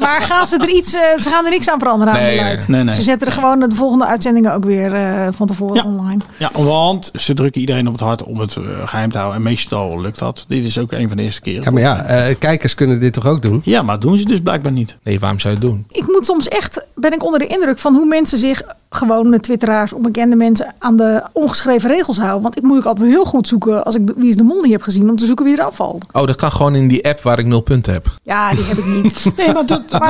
Maar gaan ze er iets, eh, ze gaan er niks aan veranderen aan Nee, de luid. nee, nee. Ze zetten er gewoon de volgende uitzendingen ook weer eh, van tevoren online. Ja, want ze drukken iedereen op het hart om het eh, geheim te houden. En meestal lukt dat. Dit is ook een van de eerste keren. Ja, maar ja, eh, kijkers kunnen dit toch ook doen? Ja, maar doen ze dus blijkbaar niet. Nee, waarom zou je het doen? Ik moet soms echt, ben ik onder de indruk van hoe mensen zich, gewone twitteraars, onbekende mensen, aan de ongeschreven regels houden. Want ik moet ook altijd heel goed zoeken als ik de- Wie is de Mol niet heb gezien, om te zoeken wie er afvalt. Oh, dat kan gewoon in die app waar ik nul punten heb. Ja, die heb ik niet. nee, maar,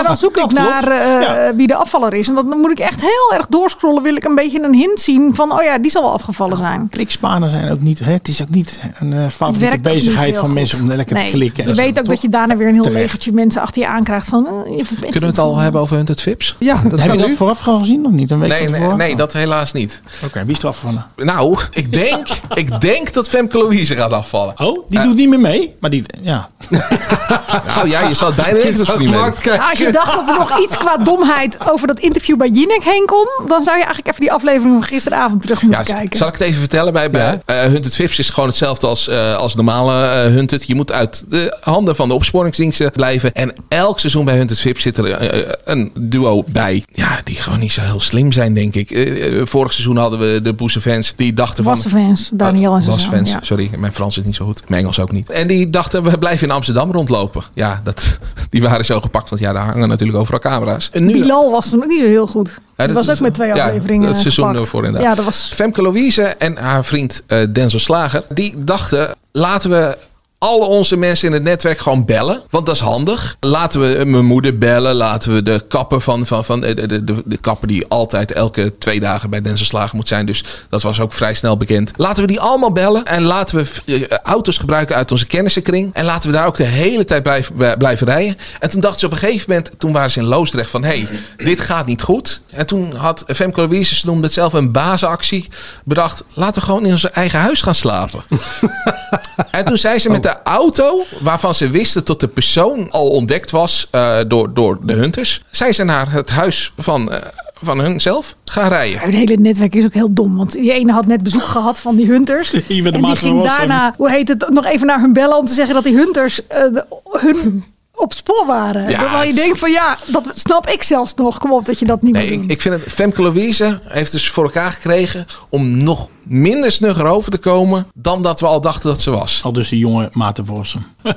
dan zoek ik klopt. naar eh, Ja. wie de afvaller is. En dat- dan moet ik echt heel erg doorscrollen. Wil ik een beetje een hint zien van, oh ja, die zal wel afgevallen zijn. Klikspanen zijn ook niet, hè, het is ook niet een eh, favoriete ook niet bezigheid heel van goed. mensen om lekker Nee, te klikken. Je en zo, weet ook toch? dat je daarna weer een heel Terecht. legertje mensen achter je aankrijgt van... eh, je verpest Kunnen we het al hebben over Hunted Vips? Ja, dat Heb je dat vooraf al gezien of niet? Een week Nee, van nee, tevoren? nee, dat helaas niet. Oké, wie is er afgevallen? Nou, ik denk, ik denk dat Femke Louise gaat afvallen. Oh, Die doet niet meer mee, maar die... Ja. Nou ja, je zat bijna echt dat ze niet mee. Nou, als je dacht dat er nog iets qua domheid over dat interview bij Jinek heen kon... dan zou je eigenlijk even die aflevering van gisteravond terug moeten Ja, z- kijken. zal ik het even vertellen? Bij, bij eh, Hunted Vips is gewoon hetzelfde als, eh, als normale eh, Hunted. Je moet uit de handen van de opsporingsdiensten blijven. En elk seizoen bij Hunted Vips zit er eh, een duo bij. Ja, die gewoon niet zo heel slim zijn, denk ik. Eh, eh, vorig seizoen hadden we de Boeze fans. Die dachten van... Oh, Wassenfans, Daniel en zijn Was zoon, fans, ja. sorry, mijn Frans is niet zo goed. Mijn Engels ook niet. En die dachten, we blijven in Amsterdam rondlopen. Ja, dat, die waren zo gepakt, want ja, daar hangen natuurlijk overal camera's. En nu, Bilal was toen ook niet zo heel goed. Ja, dat dat was is- ook met twee ja, afleveringen dat seizoen gepakt. ervoor inderdaad. Ja, dat was Femke Louise en haar vriend eh, Denzel Slager, die dachten, laten we al onze mensen in het netwerk gewoon bellen. Want dat is handig. Laten we eh, mijn moeder bellen. Laten we de kapper van... van, van eh, de, de, de, de kapper die altijd elke twee dagen bij Denzel Slager moet zijn. Dus dat was ook vrij snel bekend. Laten we die allemaal bellen. En laten we eh, auto's gebruiken uit onze kennissenkring. En laten we daar ook de hele tijd blijven, bij- eh, blijven rijden. En toen dachten ze op een gegeven moment... Toen waren ze in Loosdrecht van... Hé, hey, dit gaat niet goed. En toen had Femke Louise... Ze noemde het zelf een basisactie. Bedacht, laten we gewoon in ons eigen huis gaan slapen. En toen zijn ze met de auto, waarvan ze wisten dat de persoon al ontdekt was eh, door, door de hunters, zijn ze naar het huis van, eh, van hunzelf gaan rijden. Ja, Het hele netwerk is ook heel dom. Want die ene had net bezoek gehad van die hunters. Ivan de en die Maat van ging Rossum. daarna, hoe heet het, nog even naar hun bellen om te zeggen dat die hunters eh, de- hun op spoor waren. Ja, Terwijl je het- denkt van ja, dat snap ik zelfs nog. Kom op dat je dat niet Nee, meer ik, ik vind het. Femke Louise heeft dus voor elkaar gekregen om nog minder snugger over te komen dan dat we al dachten dat ze was. Al dus die jonge Maarten Vossen. doet.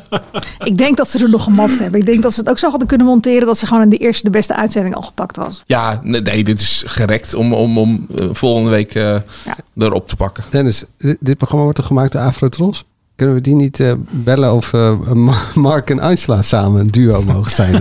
Ik denk dat ze er nog gemapt hebben. Ik denk dat ze het ook zo hadden kunnen monteren dat ze gewoon in de eerste de beste uitzending al gepakt was. Ja, nee, nee, dit is gerekt om, om, om eh, volgende week eh, erop te pakken. Dennis, dit, dit programma wordt toch gemaakt door Afrotros? Kunnen we die niet eh, bellen of eh, Ma- Mark en Angela samen een duo mogen zijn?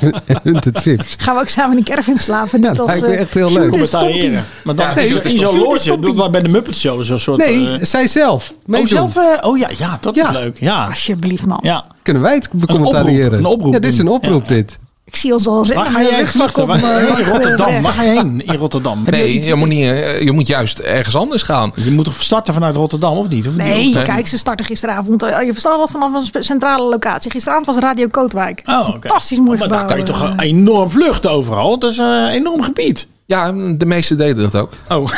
in Hunted Vips. Gaan we ook samen in de caravan slaven. net als, lijkt me eh, echt heel leuk. Sjoerd en Commentariëren. Stompie. Maar dan Ja, is nee, er in zo'n Sjoerd is loodje, toppie. bij de Muppet Show, zo'n soort... Nee, eh, zij zelf. Oh, meedoen. zelf? eh, oh ja, ja, dat is leuk. Ja. Alsjeblieft, man. Ja. Kunnen wij het oproep, commentariëren? een oproep ja, dit is doen. een oproep dit. Ik zie ons Waar al rennen ga met een jij rugzak vluchten? op, Waar- eh, in recht, eh, Rotterdam. recht. Waar ga je heen in Rotterdam? Nee, je moet, niet, eh, je moet juist ergens anders gaan. Je moet toch starten vanuit Rotterdam, of niet? Of niet? Nee, kijk, ze starten gisteravond. eh, Je verstaat dat vanaf een spe- centrale locatie. Gisteravond was Radio Kootwijk. Oh, oké. Fantastisch mooi Maar daar gebouw. kan je toch een enorm vluchten overal? Het is een enorm gebied. Ja, de meesten deden dat ook. Oh.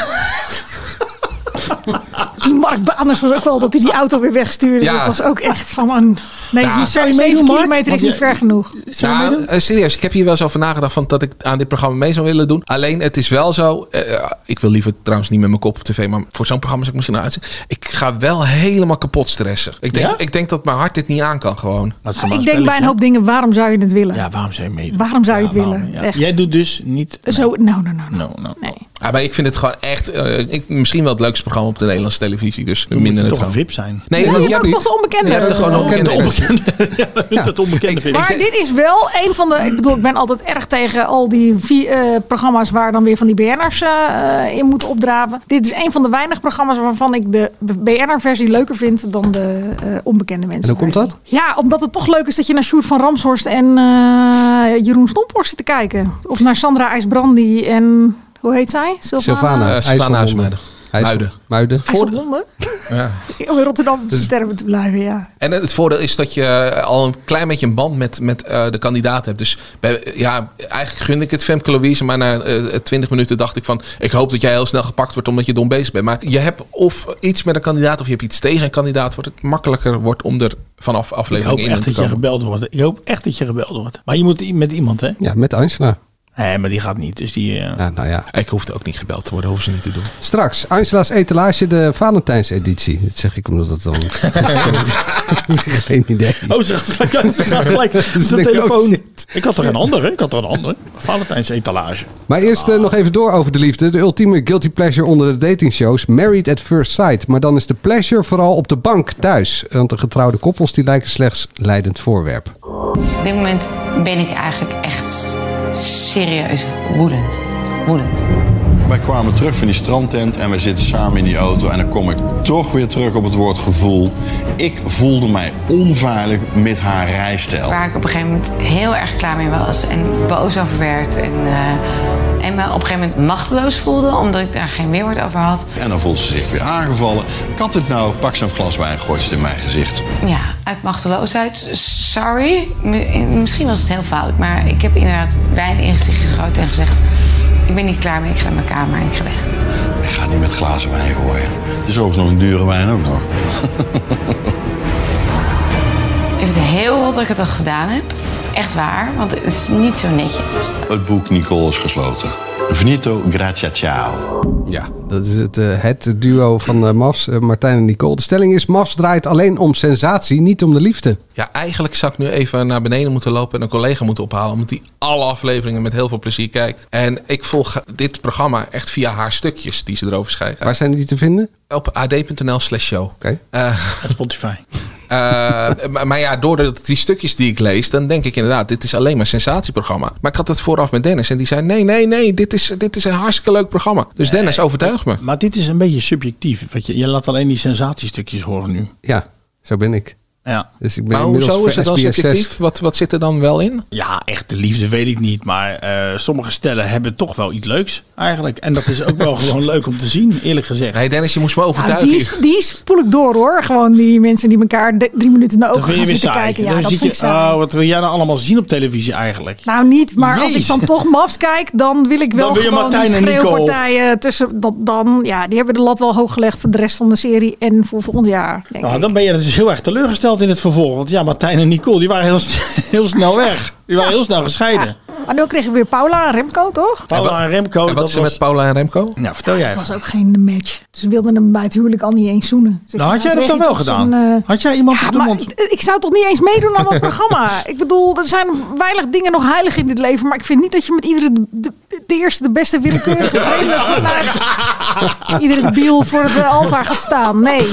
Eh, Die Mark Baners was ook wel dat hij die auto weer wegstuurde. Ja. Dat was ook echt van man. Nee, is Ja. niet Zou zo. je 7 meedoen, Mark? kilometer is Want niet je- ver genoeg. Ja, eh, serieus. Ik heb hier wel eens over nagedacht van dat ik aan dit programma mee zou willen doen. Alleen het is wel zo. eh, eh, ik wil liever trouwens niet met mijn kop op tv, maar voor zo'n programma zou ik misschien uitzien. Ik ga wel helemaal kapot stressen. Ik denk, Ja? ik denk dat mijn hart dit niet aan kan gewoon. Ik denk bij een hoop dingen, waarom zou je het willen? Ja, waarom zou je meedoen? Waarom zou je het willen? Ja. Echt. Jij doet dus niet... Zo, nou, nou, nou. nou. No, no. Nee. Ja, Ah, maar ik vind het gewoon echt. eh, ik, misschien wel het leukste programma op de Nederlandse televisie. Dus Dan moet minder je het toch een gewoon. VIP zijn. Oh, Nee, Ja, want je jij hebt hebt ook die- toch de onbekende. Je hebt er gewoon De onbekende. Dat onbekende vind ik. Maar dit is wel een van de. Ik bedoel, ik ben altijd erg tegen al die vi- eh, programma's waar dan weer van die BN'ers eh, eh, in moeten opdraven. Dit is een van de weinig programma's waarvan ik de BNR-versie leuker vind dan de eh, onbekende mensen. En hoe komt dat? Ja, omdat het toch leuk is dat je naar Sjoerd van Ramshorst en eh, Jeroen Stomphorst zit te kijken. Of naar Sandra IJsbrandi en. Hoe heet zij? Sylvana. Eh, Sylvana IJsselmonde. Muiden. Muiden. IJsselmonde? Ja. Om in Rotterdam Dus- te termen te blijven, ja. En het voordeel is dat je eh, al een klein beetje een band met, met eh, de kandidaat hebt. Dus bij- ja, eigenlijk gun ik het Femke Louise. Maar na eh, twintig minuten dacht ik van... ik hoop dat jij heel snel gepakt wordt omdat je dom bezig bent. Maar je hebt of iets met een kandidaat of je hebt iets tegen een kandidaat... wordt het makkelijker wordt om er vanaf Ik aflevering hoop in echt te dat je komen. gebeld wordt. Ik hoop echt dat je gebeld wordt. Maar je moet i- met iemand, hè? Ja, met Angela. Nee, maar die gaat niet. Dus die... eh, Ja, nou ja. Ik hoefde ook niet gebeld te worden, hoeven ze niet te doen. Straks, Angela's etalage, de Valentijnseditie. Dat zeg ik omdat het dan... Geen idee. Oh, ze gaat gelijk, ze gaat gelijk Dus de denk ik, oh, telefoon. shit. Ik had er een andere. Ik had er een andere. Valentijns etalage. Maar eerst eh, nog even door over de liefde. De ultieme guilty pleasure onder de datingshows. Married at first sight. Maar dan is de pleasure vooral op de bank thuis. Want de getrouwde koppels die lijken slechts leidend voorwerp. Op dit moment ben ik eigenlijk echt serieus woedend. Woedend. Wij kwamen terug van die strandtent en wij zitten samen in die auto. En dan kom ik toch weer terug op het woord gevoel. Ik voelde mij onveilig met haar rijstijl. Waar ik op een gegeven moment heel erg klaar mee was en boos over werd. En, eh, en me op een gegeven moment machteloos voelde omdat ik daar geen weerwoord over had. En dan voelt ze zich weer aangevallen. Kat het nou, pak zo'n glas wijn, gooit het in mijn gezicht. Ja, uit machteloosheid. Sorry. M- misschien was het heel fout, maar ik heb inderdaad wijn in gezicht gegooid en gezegd: Ik ben niet klaar mee, ik ga naar mijn kamer en ik ga weg. Ik ga niet met glazen wijn gooien. Het is overigens nog een dure wijn ook nog. Ik vind het heel rot dat ik het al gedaan heb. Echt waar, want het is niet zo netjes. Het boek Nicole is gesloten. Finito, grazie, ciao. Ja, dat is het, eh, het duo van eh, Mafs, eh, Martijn en Nicole. De stelling is, Mafs draait alleen om sensatie, niet om de liefde. Ja, eigenlijk zou ik nu even naar beneden moeten lopen en een collega moeten ophalen. Omdat die alle afleveringen met heel veel plezier kijkt. En ik volg dit programma echt via haar stukjes die ze erover schrijft. Waar zijn die te vinden? Op ad.nl slash show. Oké. Eh, En Spotify. eh, maar, maar ja, door de- die stukjes die ik lees, dan denk ik inderdaad, dit is alleen maar een sensatieprogramma. Maar ik had het vooraf met Dennis en die zei, nee, nee, nee, dit is, dit is een hartstikke leuk programma. Dus Dennis, overtuig me. Maar dit is een beetje subjectief. Want je, je laat alleen die sensatiestukjes horen nu. Ja, zo ben ik. Ja. Dus ik ben Maar inmiddels Nou, hoezo is ver- het dan SBS6. subjectief? Wat, wat zit er dan wel in? Ja, echt de liefde weet ik niet. Maar eh, sommige stellen hebben toch wel iets leuks eigenlijk. En dat is ook wel gewoon leuk om te zien, eerlijk gezegd. Nee, Dennis, je moest me Nou, die, sp- die spoel ik door hoor. Gewoon die mensen die elkaar de- drie minuten naar Dan ogen vind je gaan weer zitten saai. kijken. Ja, Dan dat zie vind ik je, saai. oh, wat wil jij nou allemaal zien op televisie eigenlijk? Nou niet, maar als Nee. ik dan toch mafs kijk, dan wil ik wel Dan wil je gewoon die Martijn en Nico. schreeuwpartijen tussen. Dat dan, ja, die hebben de lat wel hoog gelegd voor de rest van de serie en voor volgend jaar. Denk Nou, ik. dan ben je dus heel erg teleurgesteld in het vervolg. Want ja, Martijn en Nicole, die waren heel, s- heel snel weg. Die waren heel snel gescheiden. Maar nu kregen we weer Paula en Remco, toch? Paula en Remco. En wat Oh, dat is er was- met Paula en Remco? Ja, vertel jij Het even. was ook geen match. Dus ze wilden hem bij het huwelijk al niet eens zoenen. Dus ik Nou, had jij was dat dan echt wel op gedaan? zo'n, eh, Had jij iemand op de maar mond? het- Ik zou toch niet eens meedoen aan dat programma. Ik bedoel, er zijn weinig dingen nog heilig in dit leven. Maar ik vind niet dat je met iedere de, de- de eerste, de beste willekeurige vreemde vanuit iedere biel voor het eh, altaar gaat staan. Nee.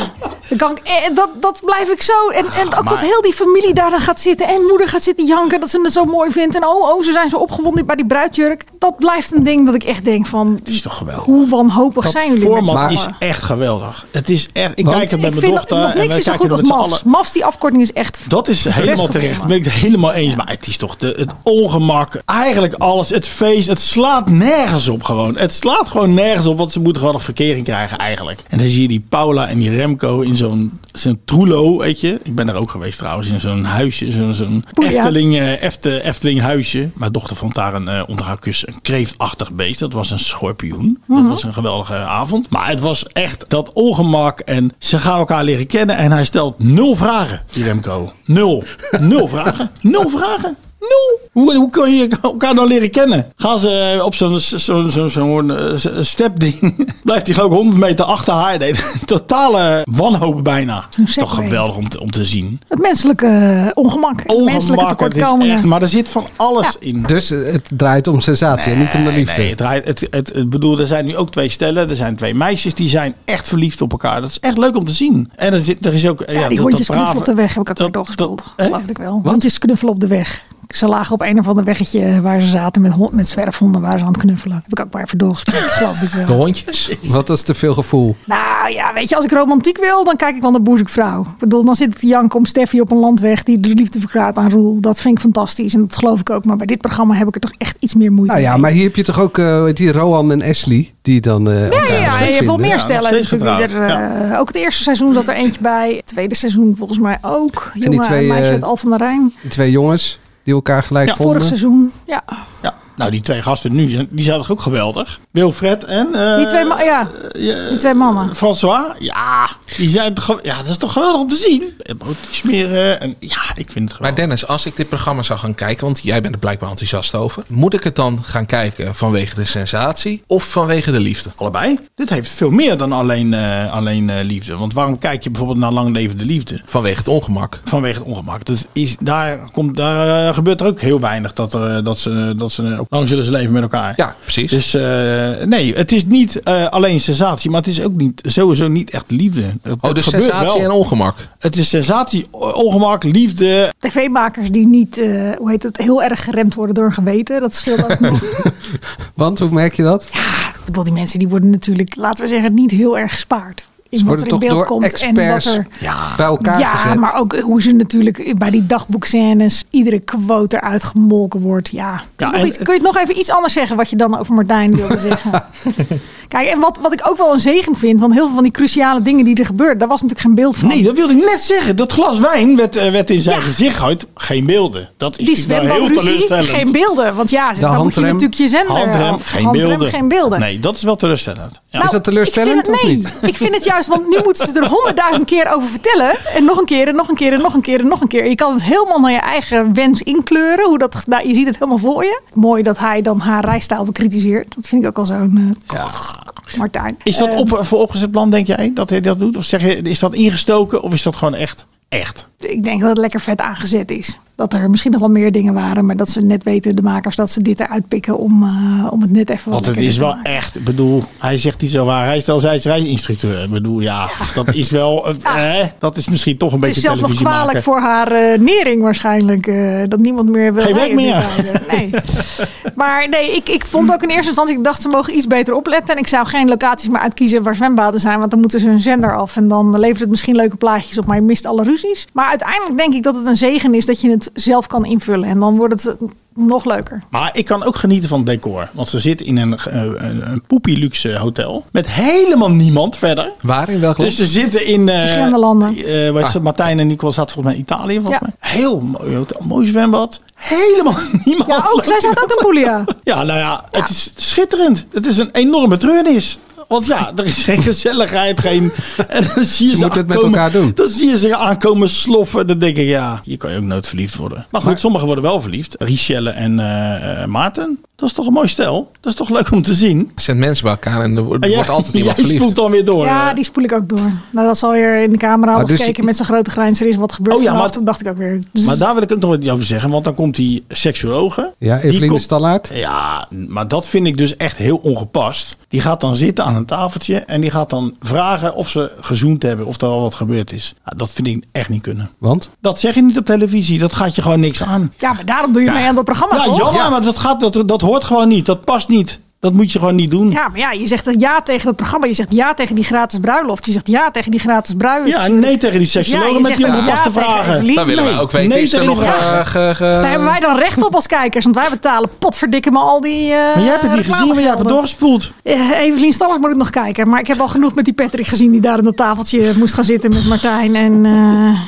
Dan kan ik, eh, dat, dat blijf ik zo. En, en ook dat maar- heel die familie daar dan gaat zitten. En moeder gaat zitten janken dat ze het zo mooi vindt. En oh, oh, ze zijn zo opgewonden bij die bruidjurk. dat blijft een ding dat ik echt denk van... Het is toch geweldig. Hoe wanhopig Dat zijn jullie met z'n format allen? is echt geweldig. Het is echt, ik Want kijk er met ik mijn vind dochter. Nog en niks wij is zo goed kijken er als met z'n MAFS. allen- MAFS, die afkorting is echt... Dat is best helemaal wel terecht. prima. Dat ben ik het helemaal eens. Maar het is toch de, het ongemak. Eigenlijk alles. Het feest. Het slaat nergens op gewoon. Het slaat gewoon nergens op. Want ze moeten gewoon nog verkering krijgen eigenlijk. En dan zie je die Paula en die Remco in zo'n zo'n trulo. Weet je. Ik ben daar ook geweest trouwens. In zo'n huisje. Zo'n zo'n Oeh, ja. Efteling, eh, Efte- Efteling huisje. Mijn dochter vond daar een, eh, onder haar kus een kreeftachtig beest. Dat was een schorpioen. Dat Mhm. was een geweldige avond. Maar het was echt dat ongemak. En ze gaan elkaar leren kennen. En hij stelt nul vragen, die Remco. Nul. Nul vragen. Nul vragen. Nul. Hoe, hoe kun je elkaar nou leren kennen? Gaan ze eh, op zo'n zo'n zo'n zo'n, eh, s- stepding? Blijft hij geloof ik 100 meter achter haar. Nee, totale wanhoop bijna. Is toch segway. geweldig om te, om te zien. Het menselijke eh, ongemak. en de menselijke Ongemak, het is tekortkomingen. echt- maar er zit van alles in. Dus eh, het draait om sensatie en niet om de Nee, liefde. eh, Nee, het, draait- het, het, het- bedoel, er zijn nu ook twee stellen. Er zijn twee meisjes die zijn echt verliefd op elkaar. Dat is echt leuk om te zien. En er, zit, er is ook... eh, Ja, die dat- hondjes dat knuffelen op brave- de weg heb ik ook weer doorgespoeld. Geloof ik wel. Hondjes knuffelen op de weg. Ze lagen op een of ander weggetje waar ze zaten met, hond, met zwerfhonden waar ze aan het knuffelen. Heb ik ook maar even doorgespeeld, geloof ik wel. hondjes? Wat is te veel gevoel? Nou ja, weet je, als ik romantiek wil, dan kijk ik wel naar Boezekvrouw. Ik bedoel, dan zit ik te janken om Steffi op een landweg die de liefde verklaart aan Roel. Dat vind ik fantastisch en dat geloof ik ook. Maar bij dit programma heb ik er toch echt iets meer moeite Nou ja, mee. maar hier heb je toch ook eh, weet die Rohan en Ashley die dan. eh, Ja, ja, elkaar ja, leuk je hebt wel vinden. meer stellen. natuurlijk die er, eh, Ook het eerste seizoen zat er eentje bij. Het tweede seizoen volgens mij ook. die Jongen en, twee, meisje eh, uit Al van der Rijn. Die twee jongens die elkaar gelijk Ja, vonden. Vorig seizoen, ja. Ja, nou die twee gasten nu, die zijn toch ook geweldig? Wilfred en... eh, Die twee, ma- ja, eh, die twee mannen. François? Ja, die zijn toch ge- ja, dat is toch geweldig om te zien? En broodjes smeren en ja, ik vind het Maar Dennis, als ik dit programma zou gaan kijken, want jij bent er blijkbaar enthousiast over, moet ik het dan gaan kijken vanwege de sensatie of vanwege de liefde? Allebei. Dit heeft veel meer dan alleen, eh, alleen eh, liefde. Want waarom kijk je bijvoorbeeld naar lang levende liefde? Vanwege het ongemak. Vanwege het ongemak. Dus is, daar, komt, daar eh, gebeurt er ook heel weinig dat, er, eh, dat ze, dat ze ook lang zullen ze leven met elkaar. Ja, precies. Dus eh, nee, het is niet eh, alleen sensatie, maar het is ook niet, sowieso niet echt liefde. Oh, dus sensatie en ongemak. Het is sensatie, o- ongemak, liefde. TV-makers die niet, eh, hoe heet het, heel erg geremd worden door een geweten. Dat scheelt ook nog. Want hoe merk je dat? Ik bedoel, die mensen die worden natuurlijk, laten we zeggen, niet heel erg gespaard. In Ze wat er worden in toch beeld door komt experts en wat er... bij elkaar ja, gezet. maar ook hoe ze natuurlijk bij die dagboekscènes iedere quote eruit gemolken wordt. Ja. Kun, Ja, je nog en- iets- kun je het nog even iets anders zeggen wat je dan over Martijn wilde zeggen? Kijk, en wat, wat ik ook wel een zegen vind, want heel veel van die cruciale dingen die er gebeuren, daar was natuurlijk geen beeld van. Nee, dat wilde ik net zeggen. Dat glas wijn werd, eh, werd in zijn gezicht gegooid. Geen beelden. Dat is die natuurlijk wel heel zwembadruzie, teleurstellend. geen beelden. Want ja, De dan moet je handrem. natuurlijk je zender... Handrem, of geen handrem, beelden. geen beelden. Nee, dat is wel teleurstellend. Ja. Nou, ik vind het, nee, ik vind het juist, want nu moeten ze er honderdduizend keer over vertellen. En nog een keer, en nog een keer, en nog een keer, en nog een keer. Je kan het helemaal naar je eigen wens inkleuren. Hoe dat, nou, je ziet het helemaal voor je. Mooi dat hij dan haar rijstijl bekritiseert. Dat vind ik ook al zo'n eh, Martijn. Is dat Eh, op, voor opgezet plan, denk jij, dat hij dat doet? Of zeg je, is dat ingestoken of is dat gewoon echt? Echt. ik denk dat het lekker vet aangezet is. Dat er misschien nog wel meer dingen waren, maar dat ze net weten, de makers, dat ze dit eruit pikken om, eh, om het net even wat Want het lekkerder is te wel maken. echt, ik bedoel, hij zegt niet zo waar. Hij is wel zij is reisinstructeur. Ik bedoel, ja, dat is wel, eh, eh, dat is misschien toch een Het beetje is zelfs nog televisie kwalijk maken. voor haar eh, nering waarschijnlijk. eh, dat niemand meer wil Geen werk rijden meer. bij de- Nee. maar nee, ik, ik vond ook in eerste instantie... Ik dacht, ze mogen iets beter opletten. En ik zou geen locaties meer uitkiezen waar zwembaden zijn. Want dan moeten ze hun zender af. En dan levert het misschien leuke plaatjes op. Maar je mist alle ruzies. Maar uiteindelijk denk ik dat het een zegen is dat je het zelf kan invullen. En dan wordt het eh, nog leuker. Maar ik kan ook genieten van het decor. Want ze zit in een, eh, een, een poepie luxe hotel. Met helemaal niemand verder. Waar? In welk land? Dus ze zitten in... eh, Verschillende landen. eh, wat is Ah. het, Martijn en Nicole zaten volgens mij in Italië. Volgens Ja. mij. Heel mooi, hotel, mooi zwembad. Helemaal niemand. Ja, ook, zij zat ook in Puglia. Ja, nou ja, het is schitterend. Het is een enorme treurnis. Want ja, er is geen gezelligheid, geen... En dan zie je ze, moeten het met aankomen- elkaar doen. Dan zie je ze aankomen sloffen. Dan denk ik, ja, hier kan je ook nooit verliefd worden. Maar goed, sommigen worden wel verliefd. Richelle en eh, eh, Maarten. Dat is toch een mooi stel? Dat is toch leuk om te zien? Er zijn mensen bij elkaar en er wordt En jij- wordt altijd iemand jij verliefd. spoelt dan weer door. Ja, die spoel ik ook door. Nou, dat zal weer in de camera Ah, al dus- gekeken met zo'n grote grijns. Er is wat gebeurd Oh ja, vannacht. maar- Toen dacht ik ook weer... Dus Maar daar wil ik ook nog wat over zeggen, want dan komt die seksuologe. Ja, Die Eveline komt- Stallaert. Ja, maar dat vind ik dus echt heel ongepast. Die gaat dan zitten aan een tafeltje en die gaat dan vragen of ze gezoend hebben, of er al wat gebeurd is. Ja, dat vind ik echt niet kunnen. Want? Dat zeg je niet op televisie, dat gaat je gewoon niks aan. Ja, maar daarom doe je mee aan dat programma, ja, toch? jammer, maar dat, gaat, dat, dat hoort gewoon niet. Dat past niet. Dat moet je gewoon niet doen. Ja, maar ja, je zegt ja tegen dat programma. Je zegt ja tegen die gratis bruiloft. Je zegt ja tegen die gratis bruiloft. Ja, en nee tegen die seksologen je met die zegt ongepaste ja tegen vragen. Evelien. Dan willen we Nou, ook weten, Nee is er tegen nog... die eh, vraag. ge- ge- Daar hebben wij dan recht op als kijkers. Want wij betalen potverdikke me al die eh Maar jij hebt het niet gezien, maar jij hebt het doorgespoeld. Eh, Evelien Stallig moet ik nog kijken. Maar ik heb al genoeg met die Patrick gezien die daar aan dat tafeltje moest gaan zitten met Martijn. En eh,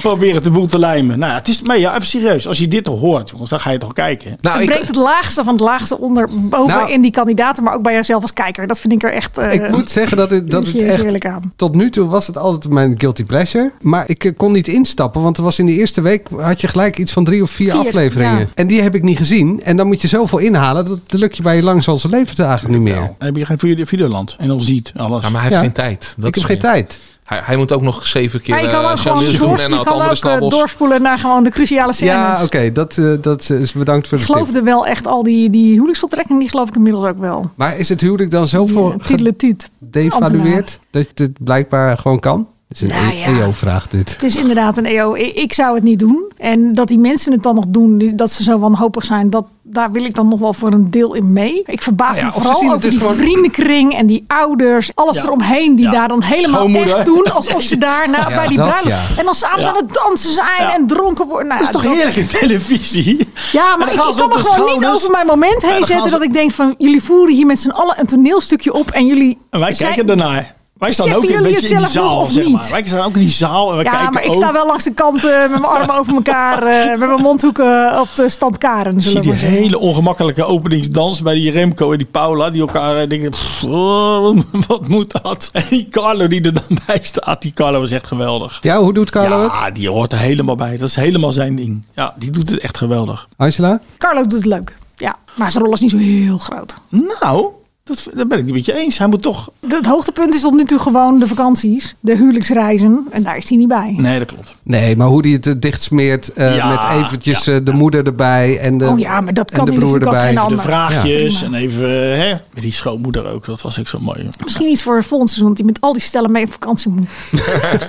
Proberen de boel te lijmen. Nou ja, het is, maar ja, even serieus. Als je dit toch hoort, jongens, dan ga je toch kijken. het breekt het laagste van het laagste onder boven Nou. in die kandidaten. Maar ook bij jouzelf als kijker. Dat vind ik er echt... eh, ik moet zeggen dat het, dat doe het je echt... eerlijk aan. Tot nu toe was het altijd mijn guilty pleasure. Maar ik eh, kon niet instappen. Want er was in de eerste week... had je gelijk iets van drie of vier, Vier, afleveringen. ja. En die heb ik niet gezien. En dan moet je zoveel inhalen... dat dat lukt je bij je langzaamse levensdagen niet meer. Heb je geen video- Videoland en ons ziet alles. Ja, maar hij heeft Ja. geen tijd. Ik heb is- geen tijd. Hij, hij moet ook nog zeven keer Maar je kan eh, ook Sam gewoon Niels doen doors- en je al het kan andere ook, eh, snabbels. doorspoelen naar gewoon de cruciale scènes. Ja, oké. dat, eh, dat is bedankt voor ik de tip. geloofde wel echt al die, die huwelijksvoltrekking. Die geloof ik inmiddels ook wel. eh, Maar is het huwelijk dan zoveel Tiet. gedevalueerd... dat dit blijkbaar gewoon kan? Het is een Nou ja. EO-vraag dit. Het is inderdaad een EO. I- Ik zou het niet doen. En dat die mensen het dan nog doen, die- dat ze zo wanhopig zijn, dat, daar wil ik dan nog wel voor een deel in mee. Ik verbaas Nou ja, me of ze zien vooral het over dus die gewoon- vriendenkring en die ouders, alles Ja. eromheen, die Ja. daar dan helemaal Schoonmoeder. echt doen alsof ze daar na- Ja, bij die dat bruiloft. ja. En dan s'avonds Ja. aan het dansen zijn Ja. en dronken worden. Nou, Dat is toch heerlijk in televisie? Ja, En dan maar ik, gaan ik ze kan op me de gewoon niet schouders. over mijn moment Ja, heen dan zetten gaan ze- dat ik denk van jullie voeren hier met z'n allen een toneelstukje op en jullie. En wij zijn- kijken daarnaar. Wij staan Beseffen ook een jullie beetje in het die zelf nog zaal, of zeg maar. niet? Wij staan ook in die zaal en wij ja, kijken maar ook. ik sta wel langs de kant eh, met mijn armen over elkaar, eh, met mijn mondhoeken eh, op de stand Karen. Ik zie Zullen we die maar zeggen. hele ongemakkelijke openingsdans bij die Remco en die Paula. Die elkaar eh, denken, pff, oh, wat moet dat? En die Carlo die er dan bij staat. Die Carlo is echt geweldig. Ja, hoe doet Carlo het? Ja, die hoort er helemaal bij. Dat is helemaal zijn ding. Ja, die doet het echt geweldig. Angela? Carlo doet het leuk. Ja, maar zijn rol is niet zo heel groot. Nou, dat, dat ben ik niet met je eens. Hij moet toch... Het hoogtepunt is tot nu toe gewoon de vakanties, de huwelijksreizen. En daar is hij niet bij. Nee, dat klopt. Nee, maar hoe die het eh, dichtsmeert eh, Ja, met eventjes eh, de moeder erbij en de Oh ja, maar dat en kan de hij broer natuurlijk als erbij. geen ander. De vraagjes Ja. en even eh, hè, met die schoonmoeder ook. Dat was ook zo mooi. Misschien iets voor volgend seizoen, want die met al die stellen mee op vakantie moet.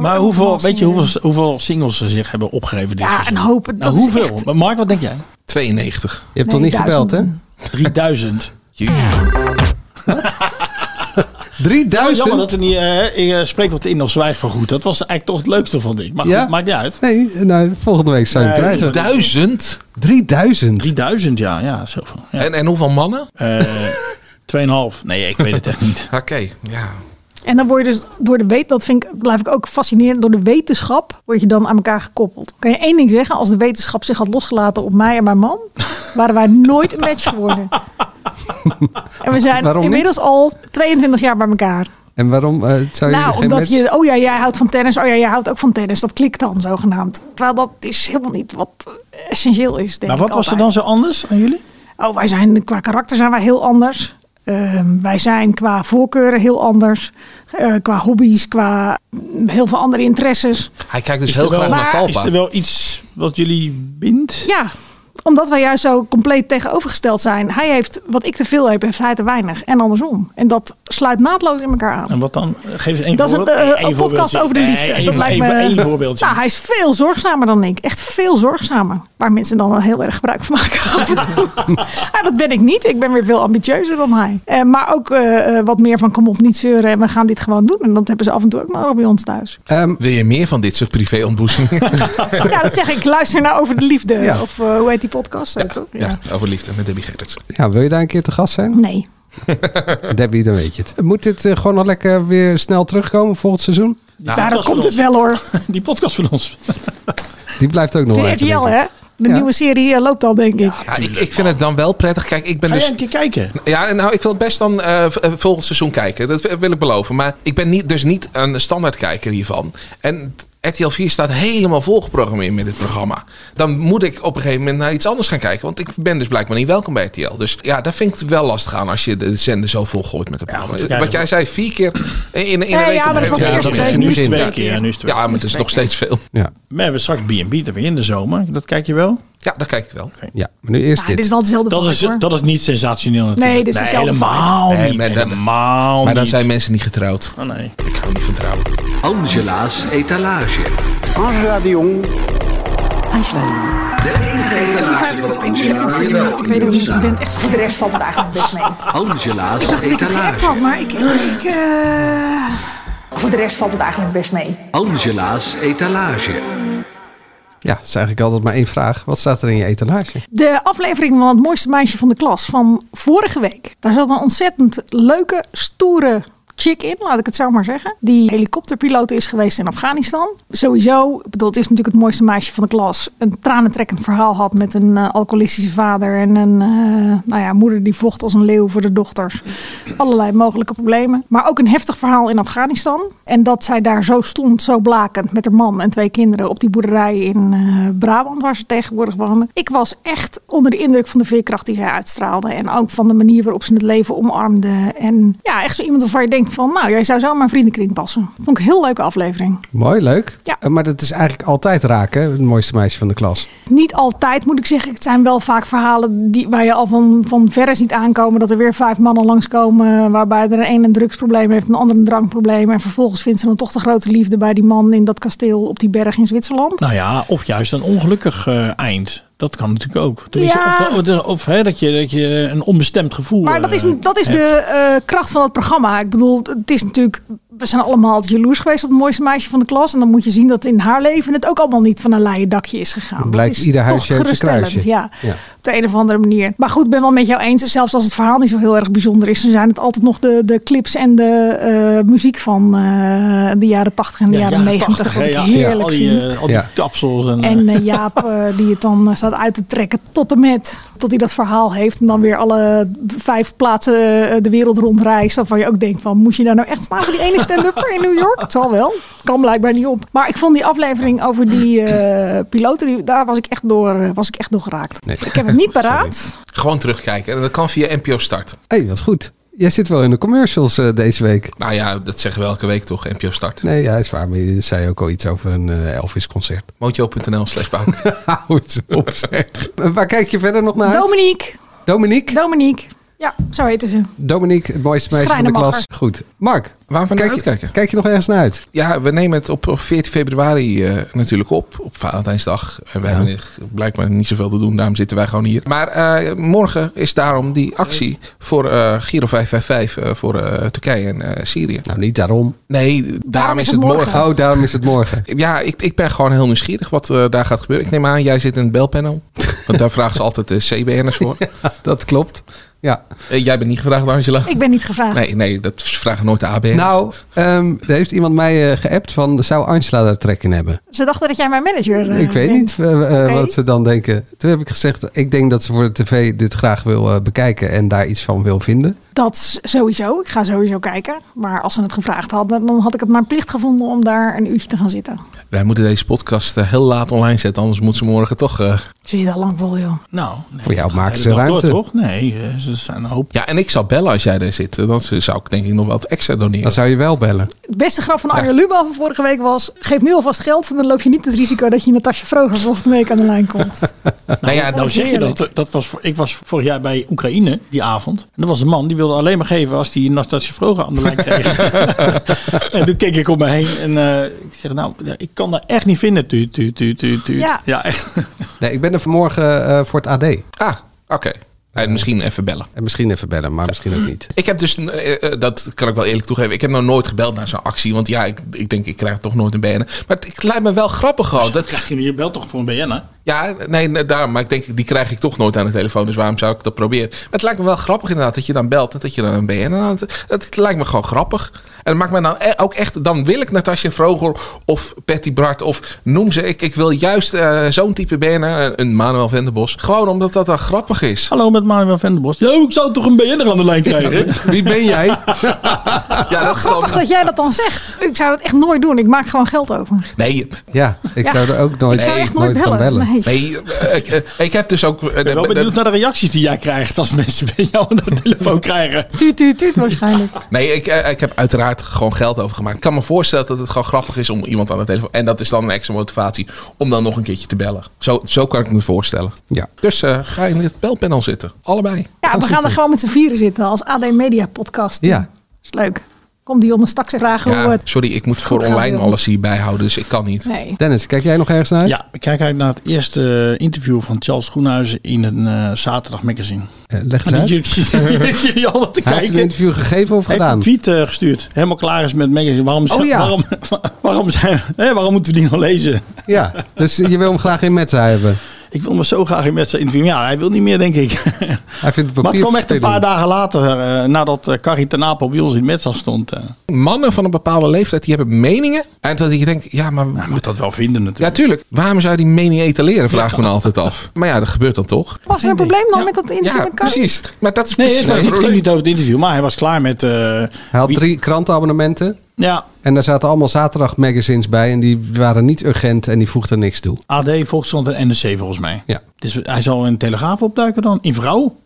Maar hoeveel, weet eh, je hoeveel, hoeveel singles ze zich hebben opgegeven dit Ja, seizoen? een hoop. Dat Nou, is hoeveel? echt- Maar Mark, wat denk jij? 92. Je hebt Nee, toch niet gebeld, hè? 3000. 3000? Oh, Jammer dat er niet eh, ik, eh, spreek wat in of zwijg van goed. Dat was eigenlijk toch het leukste, vond ik. Maar goed, Ja? maakt niet uit. Nee, nou, volgende week zou je het Nee, krijgen. 3000? 3000? 3000, ja. ja, zoveel. ja. En, en hoeveel mannen? Eh, 2,5. Nee, ik weet het echt niet. Oké, ja. En dan word je dus door de wetenschap, dat vind ik, blijf ik ook fascinerend, door de wetenschap word je dan aan elkaar gekoppeld. Kan je één ding zeggen, als de wetenschap zich had losgelaten op mij en mijn man, waren wij nooit een match geworden. En we zijn Waarom niet? inmiddels al 22 jaar bij elkaar. En waarom eh, zou je nou, geen omdat match- je, oh ja, jij houdt van tennis, oh ja, jij houdt ook van tennis. Dat klikt dan zogenaamd. Terwijl dat is helemaal niet wat eh, essentieel is, denk Maar Nou, wat ik was er altijd. dan zo anders aan jullie? Oh, wij zijn qua karakter zijn wij heel anders. Ehm, wij zijn qua voorkeuren heel anders. Eh, qua hobby's, qua mm, heel veel andere interesses. Hij kijkt dus Is er heel wel- graag naar maar Is Talpa. er wel iets wat jullie bindt? Ja, omdat wij juist zo compleet tegenovergesteld zijn. Hij heeft wat ik te veel heb, heeft hij te weinig. En andersom. En dat sluit naadloos in elkaar aan. En wat dan? Geef eens één dat is een, voorbeeld. eh, Eén een podcast voorbeeldje. over de Nee, liefde. één- dat lijkt één- me. één voorbeeldje. Nou, hij is veel zorgzamer dan ik. Echt veel zorgzamer. Waar mensen dan wel heel erg gebruik van maken. af en toe. Ah, dat ben ik niet. Ik ben weer veel ambitieuzer dan hij. Eh, maar ook eh, eh, wat meer van kom op, niet zeuren en we gaan dit gewoon doen. En dat hebben ze af en toe ook nog bij ons thuis. Ehm, Wil je meer van dit soort privé-ontboezemingen? ja, dat zeg ik. Luister nou over de liefde. Ja. Of eh, hoe heet die podcast? Eh, toch? ja, over liefde met Debbie Gerrits. Ja, wil je daar een keer te gast zijn? Nee. Debbie, dan weet je het. Moet dit eh, gewoon al lekker weer snel terugkomen volgend seizoen? Nou, Daar komt het wel hoor. Die podcast van ons. Die blijft ook nog wel De even, RTL denk ik. hè? De Ja. nieuwe serie eh, loopt al denk ik. Ja, ik, ik vind het dan wel prettig. Kijk, ik ben Ga dus... jij een keer kijken? Ja, nou, ik wil best dan eh, v- eh, volgend seizoen kijken. Dat w- wil ik beloven. Maar ik ben niet, dus niet een standaardkijker hiervan. En RTL 4 staat helemaal volgeprogrammeerd met dit programma. Dan moet ik op een gegeven moment naar iets anders gaan kijken. Want ik ben dus blijkbaar niet welkom bij RTL. Dus ja, daar vind ik het wel lastig aan als je de zender zo volgooit met het programma. goed, ja, Wat jij dat- zei, vier keer in, in Ja, een week. ja, op maar een dat was gegeven de moment. eerste Ja, week. dat Nu is begint. het twee Ja. keer. Ja, nu is het twee Ja, maar keer. het is nog steeds veel. Ja, We hebben straks B&B te weer in de zomer. Dat kijk je wel? Ja, dat kijk ik wel. ja, maar nu eerst dit. Ja, Nou, dit is wel hetzelfde Dat vibe, is, hoor. dat is niet sensationeel natuurlijk. Nee, dit is hetzelfde helemaal Nee, niet. maar dan- helemaal Maar dan niet. zijn mensen niet getrouwd. Oh, nee. Ik hou niet van trouwen. Angela's etalage. Angela de Jong aansluiten. Ik weet het niet, ik ben het echt De rest valt me eigenlijk best mee. Angela's Ik dacht dat ik het etalage. geappt had, maar ik... ik eh, Voor de rest valt het eigenlijk best mee. Angela's etalage. Ja, dat is eigenlijk altijd maar één vraag. Wat staat er in je etalage? De aflevering van het mooiste meisje van de klas van vorige week. Daar zat een ontzettend leuke, stoere chick in, laat ik het zo maar zeggen. Die helikopterpiloot is geweest in Afghanistan. Sowieso, ik bedoel, het is natuurlijk het mooiste meisje van de klas. Een tranentrekkend verhaal had met een eh, alcoholistische vader en een eh, nou ja, moeder die vocht als een leeuw voor de dochters. Allerlei mogelijke problemen. Maar ook een heftig verhaal in Afghanistan. En dat zij daar zo stond, zo blakend met haar man en twee kinderen op die boerderij in eh, Brabant waar ze tegenwoordig wonen. Ik was echt onder de indruk van de veerkracht die zij uitstraalde. En ook van de manier waarop ze het leven omarmde. En ja, echt zo iemand waarvan je denkt van, nou, jij zou zo in mijn vriendenkring passen. Vond ik een heel leuke aflevering. Mooi, leuk. Ja. Eh, Maar dat is eigenlijk altijd raken, het mooiste meisje van de klas. Niet altijd moet ik zeggen. Het zijn wel vaak verhalen die, waar je al van, van verre ziet aankomen. Dat er weer vijf mannen langskomen. eh, Waarbij er een een drugsprobleem heeft, een ander een drankprobleem. En vervolgens vindt ze dan toch de grote liefde bij die man in dat kasteel op die berg in Zwitserland. Nou ja, of juist een ongelukkig eh, eind. Dat kan natuurlijk ook. Tenminste, Ja. Of, dat- of hè, dat, je, dat je een onbestemd gevoel Maar dat is, eh, dat is hebt. de eh, kracht van het programma. Ik bedoel, het is natuurlijk. We zijn allemaal jaloers geweest op het mooiste meisje van de klas. En dan moet je zien dat in haar leven het ook allemaal niet van een leien dakje is gegaan. Dan Dat blijkt is ieder toch huisje heeft zijn geruststellend, kruisje. Ja, Ja. op de een of andere manier. Maar goed, ik ben wel met jou eens. Zelfs als het verhaal niet zo heel erg bijzonder is, dan zijn het altijd nog de, de clips en de eh, muziek van eh, de jaren 80 en de jaren 90. Wat ik heerlijk al die, vind. eh, al die kapsels. En, eh, En eh, Jaap, eh, die het dan eh, staat uit te trekken tot en met. Tot hij dat verhaal heeft. En dan weer alle vijf plaatsen eh, de wereld rondreist. Waarvan je ook denkt van, moest je daar nou echt staan voor die ene stand-upper in New York? Het zal wel. Kan blijkbaar niet op. Maar ik vond die aflevering over die eh, piloten, die, daar was ik echt door, eh, was ik echt door geraakt. Nee. Ik heb hem niet paraat. Gewoon terugkijken. En dat kan via NPO Start. Hé, wat goed. Jij zit wel in de commercials eh, deze week. Nou ja, dat zeggen we elke week toch, NPO Start. Nee, ja, is waar. Maar je zei ook al iets over een eh, Elvis-concert. Mojo.nl slash Bouk. Hou eens op, zeg. Waar kijk je verder nog naar uit? Dominique. Dominique? Dominique. Ja, zo heette ze. Dominique, het mooiste meisje van de klas. Schrijnemacher. Goed. Mark, waarvan kijk, je- kijk je nog ergens naar uit? Ja, we nemen het op op 14 februari eh, natuurlijk op. Op Valentijnsdag. En wij hebben blijkbaar niet zoveel te doen. Daarom zitten wij gewoon hier. Maar eh, morgen is daarom die actie voor eh, Giro 555 eh, voor eh, Turkije en eh, Syrië. Nou, niet daarom. Nee, daarom, is het morgen. Oh, daarom is het morgen. Ja, ik, ik ben gewoon heel nieuwsgierig wat eh, daar gaat gebeuren. Ik neem aan, jij zit in het belpanel. Want daar vragen ze altijd eh, de CBN'ers voor. Eh, dat klopt. Ja. jij bent niet gevraagd, Angela. Ik ben niet gevraagd. Nee, nee, dat ze vragen nooit de ABN'ers. Nou, ehm, er heeft iemand mij eh, geappt van, zou Angela daar trek in hebben? Ze dachten dat jij mijn manager eh, ik weet bent. niet eh, eh, Oké. wat ze dan denken. Toen heb ik gezegd, ik denk dat ze voor de tv dit graag wil eh, bekijken en daar iets van wil vinden. Dat is sowieso. Ik ga sowieso kijken. Maar als ze het gevraagd hadden, dan had ik het mijn plicht gevonden om daar een uurtje te gaan zitten. Wij moeten deze podcast eh, heel laat online zetten. Anders moet ze morgen toch... eh, Zie je dat lang vol, joh. Nou, Voor jou maken ze ruimte. toch? Nee, eh, ze zijn een hoop. Ja, en ik zou bellen als jij daar zit. Eh, Dan zou ik denk ik nog wat extra doneren. Dan zou je wel bellen. Het beste grap van Arjen Lubach van vorige week was... geef nu alvast geld, en dan loop je niet het risico dat je Natasja Vroger volgende week aan de lijn komt. Nou, ja, nou zeg je heerlijk. dat. dat was, voor- ik was vorig jaar bij Oekraïne die avond. En er was een man die wilde alleen maar geven als hij Natasja Vroger aan de lijn kreeg. en toen keek ik om me heen en eh, ik zeg nou, ja, ik kan dat echt niet vinden. Tuut, tuut, tuut, tuut, tuut. Ja. echt. Nee, ik ben er vanmorgen eh, voor het AD. Ah, oké. En misschien even bellen. En misschien even bellen, maar misschien ook niet. Ik heb dus, eh, eh, dat kan ik wel eerlijk toegeven, ik heb nog nooit gebeld naar zo'n actie. Want ja, ik, ik denk, ik krijg toch nooit een BN. Maar het, het lijkt me wel grappig gewoon. Dat, krijg je, je belt toch voor een BN, hè? Ja, nee, nee, daarom. Maar ik denk, die krijg ik toch nooit aan de telefoon. Dus waarom zou ik dat proberen? Maar het lijkt me wel grappig inderdaad, dat je dan belt en dat je dan een BN aan... Het, het lijkt me gewoon grappig. En dat maakt me dan e- ook echt, dan wil ik Natasja Vroger of Patty Bart of noem ze. Ik, ik wil juist eh, zo'n type BN, een Manuel Venderbos. Gewoon omdat dat dan grappig is. Hallo met Manuel Venderbos. Ja, ik zou toch een BN'er aan de lijn krijgen? Wie ben jij? Ja, dat is dan... Oh. Grappig dat jij dat dan zegt. Ik zou dat echt nooit doen. Ik maak gewoon geld over. Nee. Ja, ik Ja. zou er ook nooit, Ik zou echt nooit van bellen. bellen. Nee. eh, ik, eh, ik heb dus ook... eh, Ik ben wel de- benieuwd naar de reacties die jij krijgt als mensen bij jou aan de telefoon krijgen. Tuut, tuut, tuut waarschijnlijk. Nee, ik, eh, ik heb uiteraard gewoon geld overgemaakt. Ik kan me voorstellen dat het gewoon grappig is om iemand aan de telefoon... En dat is dan een extra motivatie om dan nog een keertje te bellen. Zo, zo kan ik me voorstellen. Ja. Dus eh, ga in het belpanel zitten. Allebei. Ja, we gaan er gewoon met z'n vieren zitten als AD Media podcast. Ja. is leuk. Kom Dionne straks vragen hoe Ja, het... sorry, ik moet voor gaat, online Jan. alles hier bijhouden, dus ik kan niet. Nee. Dennis, kijk jij nog ergens naar uit? Ja, ik kijk uit naar het eerste eh, interview van Charles Groenhuizen in een eh, zaterdag magazine. Eh, leg eens Maar Ah, uit. die- jullie- jullie al wat te Hij heeft kijken. een interview gegeven of Hij heeft gedaan? een tweet eh, gestuurd. Helemaal klaar is met het magazine. Waarom, Oh ja. waarom, waarom, zijn, hè, waarom moeten we die nog lezen? Ja, dus je wil hem graag in Metza hebben. Ik wil me zo graag in met zijn interview. Ja, hij wil niet meer, denk ik. Hij vindt het Maar het papier kwam echt een paar verspilling. dagen later, eh, nadat eh, Carrie ten Apel bij ons in Metzal stond. eh. Mannen van een bepaalde leeftijd, die hebben meningen. En dat je denkt, ja, maar... Hij moet dat wel vinden natuurlijk. Ja, tuurlijk. Waarom zou je die mening etaleren, vraag ik me nou altijd af. Maar ja, dat gebeurt dan toch. Was er een probleem dan met dat interview Ja, met Carrie? precies. Maar dat is Nee, precies het, was- mijn het ging probleem. niet over het interview, maar hij was klaar met... eh, Hij had drie krantenabonnementen. ja, En daar zaten allemaal zaterdag magazines bij. En die waren niet urgent en die voegden niks toe. AD, Volkskrant en NRC volgens mij. Ja. Dus hij zal in Telegraaf opduiken dan, in vrouw.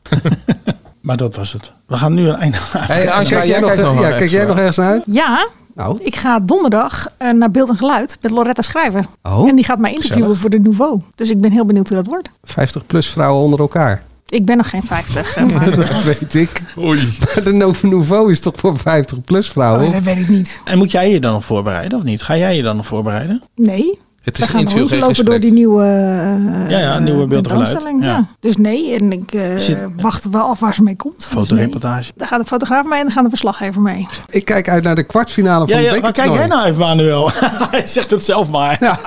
maar dat was het. We gaan nu een einde maken. Hey, Angela, Kijk jij jij nog- kijkt nog wel ja, kijk ergens jij naar. nog ergens naar uit? Ja, Nou. ik ga donderdag eh, naar Beeld en Geluid met Loretta Schrijver. Oh, en die gaat mij interviewen gezellig. voor de Nouveau. Dus ik ben heel benieuwd hoe dat wordt. 50 plus vrouwen onder elkaar. Ik ben nog geen 50. eh, maar, Dat weet ik. Maar de Novo Nouveau is toch voor 50 plus vrouwen? Oh, dat weet ik niet. En moet jij je dan nog voorbereiden of niet? Ga jij je dan nog voorbereiden? Nee. Het We gaan rondlopen door die nieuwe, eh, Ja, ja, nieuwe eh, Beeld en Geluid. tentoonstelling, Ja. ja. Dus nee, en ik eh, Zit- wacht wel af waar ze mee komt. Dus Fotoreportage. nee. Daar gaat de fotograaf mee en dan gaan de verslaggever mee. Ik kijk uit naar de kwartfinale Ja, van de ja, waar kijk jij bekertoernooi. nou even, Manuel? Hij zegt het zelf maar.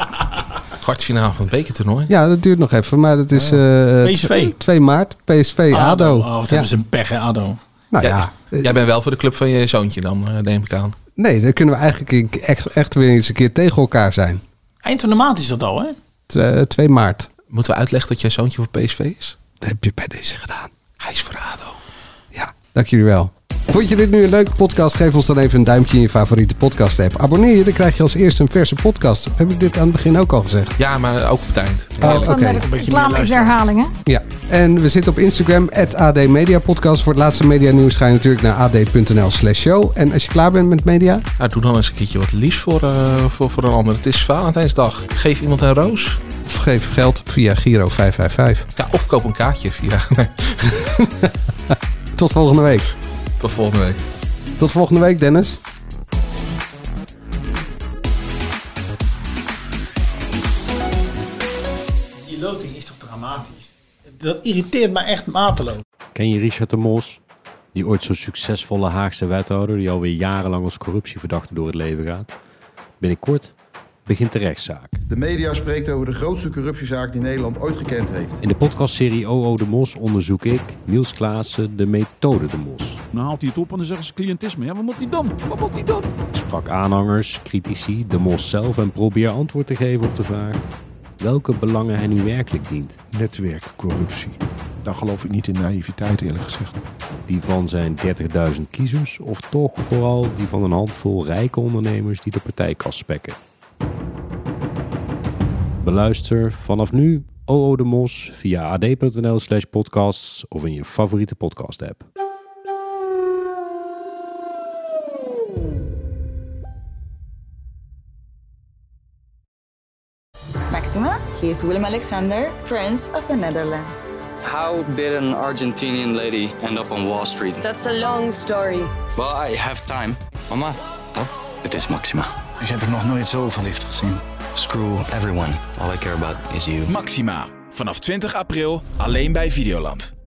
Kwartfinale van het bekertoernooi. Ja, dat duurt nog even, maar dat is eh, PSV. 2 maart. PSV, ADO. Oh, wat hebben ze een pech, hè, ADO. Nou ja. Jij bent wel voor de club van je zoontje dan, eh, neem ik aan. Nee, dan kunnen we eigenlijk echt, echt weer eens een keer tegen elkaar zijn. Eind van de maand is dat al, hè? T- eh, 2 maart. Moeten we uitleggen dat jij zoontje voor PSV is? Dat heb je bij deze gedaan. Hij is voor ADO. Dank jullie wel. Vond je dit nu een leuke podcast? Geef ons dan even een duimpje in je favoriete podcast app. Abonneer je, dan krijg je als eerste een verse podcast. Heb ik dit aan het begin ook al gezegd? Ja, maar ook op het eind. Oh, Van oké. de reclame is de herhaling, hè? Ja, en we zitten op Instagram, AD Media Podcast. Voor het laatste media nieuws ga je natuurlijk naar ad.nl slash show. En als je klaar bent met media, Nou, doe dan eens een keertje wat liefs voor, eh, voor, voor een ander. Het is Valentijnsdag. Geef iemand een roos. of geef geld via Giro 555. Ja, of koop een kaartje via. Nee, Tot volgende week. tot volgende week. Tot volgende week, Dennis. Die loting is toch dramatisch? Dat irriteert mij echt mateloos. Ken je Richard de Mos? Die ooit zo'n succesvolle Haagse wethouder die alweer jarenlang als corruptieverdachte door het leven gaat. Binnenkort begint de rechtszaak. De media spreekt over de grootste corruptiezaak die Nederland ooit gekend heeft. In de podcastserie OO de Mos onderzoek ik, Niels Klaassen, de methode de Mos. Dan Nou, haalt hij het op en dan zeggen ze cliëntisme. Ja, wat moet die dan? Wat moet die dan? Ik sprak aanhangers, critici, de Mos zelf en probeer antwoord te geven op de vraag welke belangen hij nu werkelijk dient. Netwerkcorruptie. Daar geloof ik niet in naïviteit eerlijk gezegd. Die van zijn 30.000 kiezers of toch vooral die van een handvol rijke ondernemers die de partijkas spekken? Beluister vanaf nu OO de Mos via ad.nl slash podcasts of in je favoriete podcast app. Maxima, he is Willem Alexander, Prince of the Netherlands. How did an Argentinian lady end up on Wall Street? That's a long story. Well, I have time. Mama, oh, it is Maxima. Ik heb er nog nooit zo verliefd gezien. Screw everyone. All I care about is you. Maxima, vanaf 20 april alleen bij Videoland.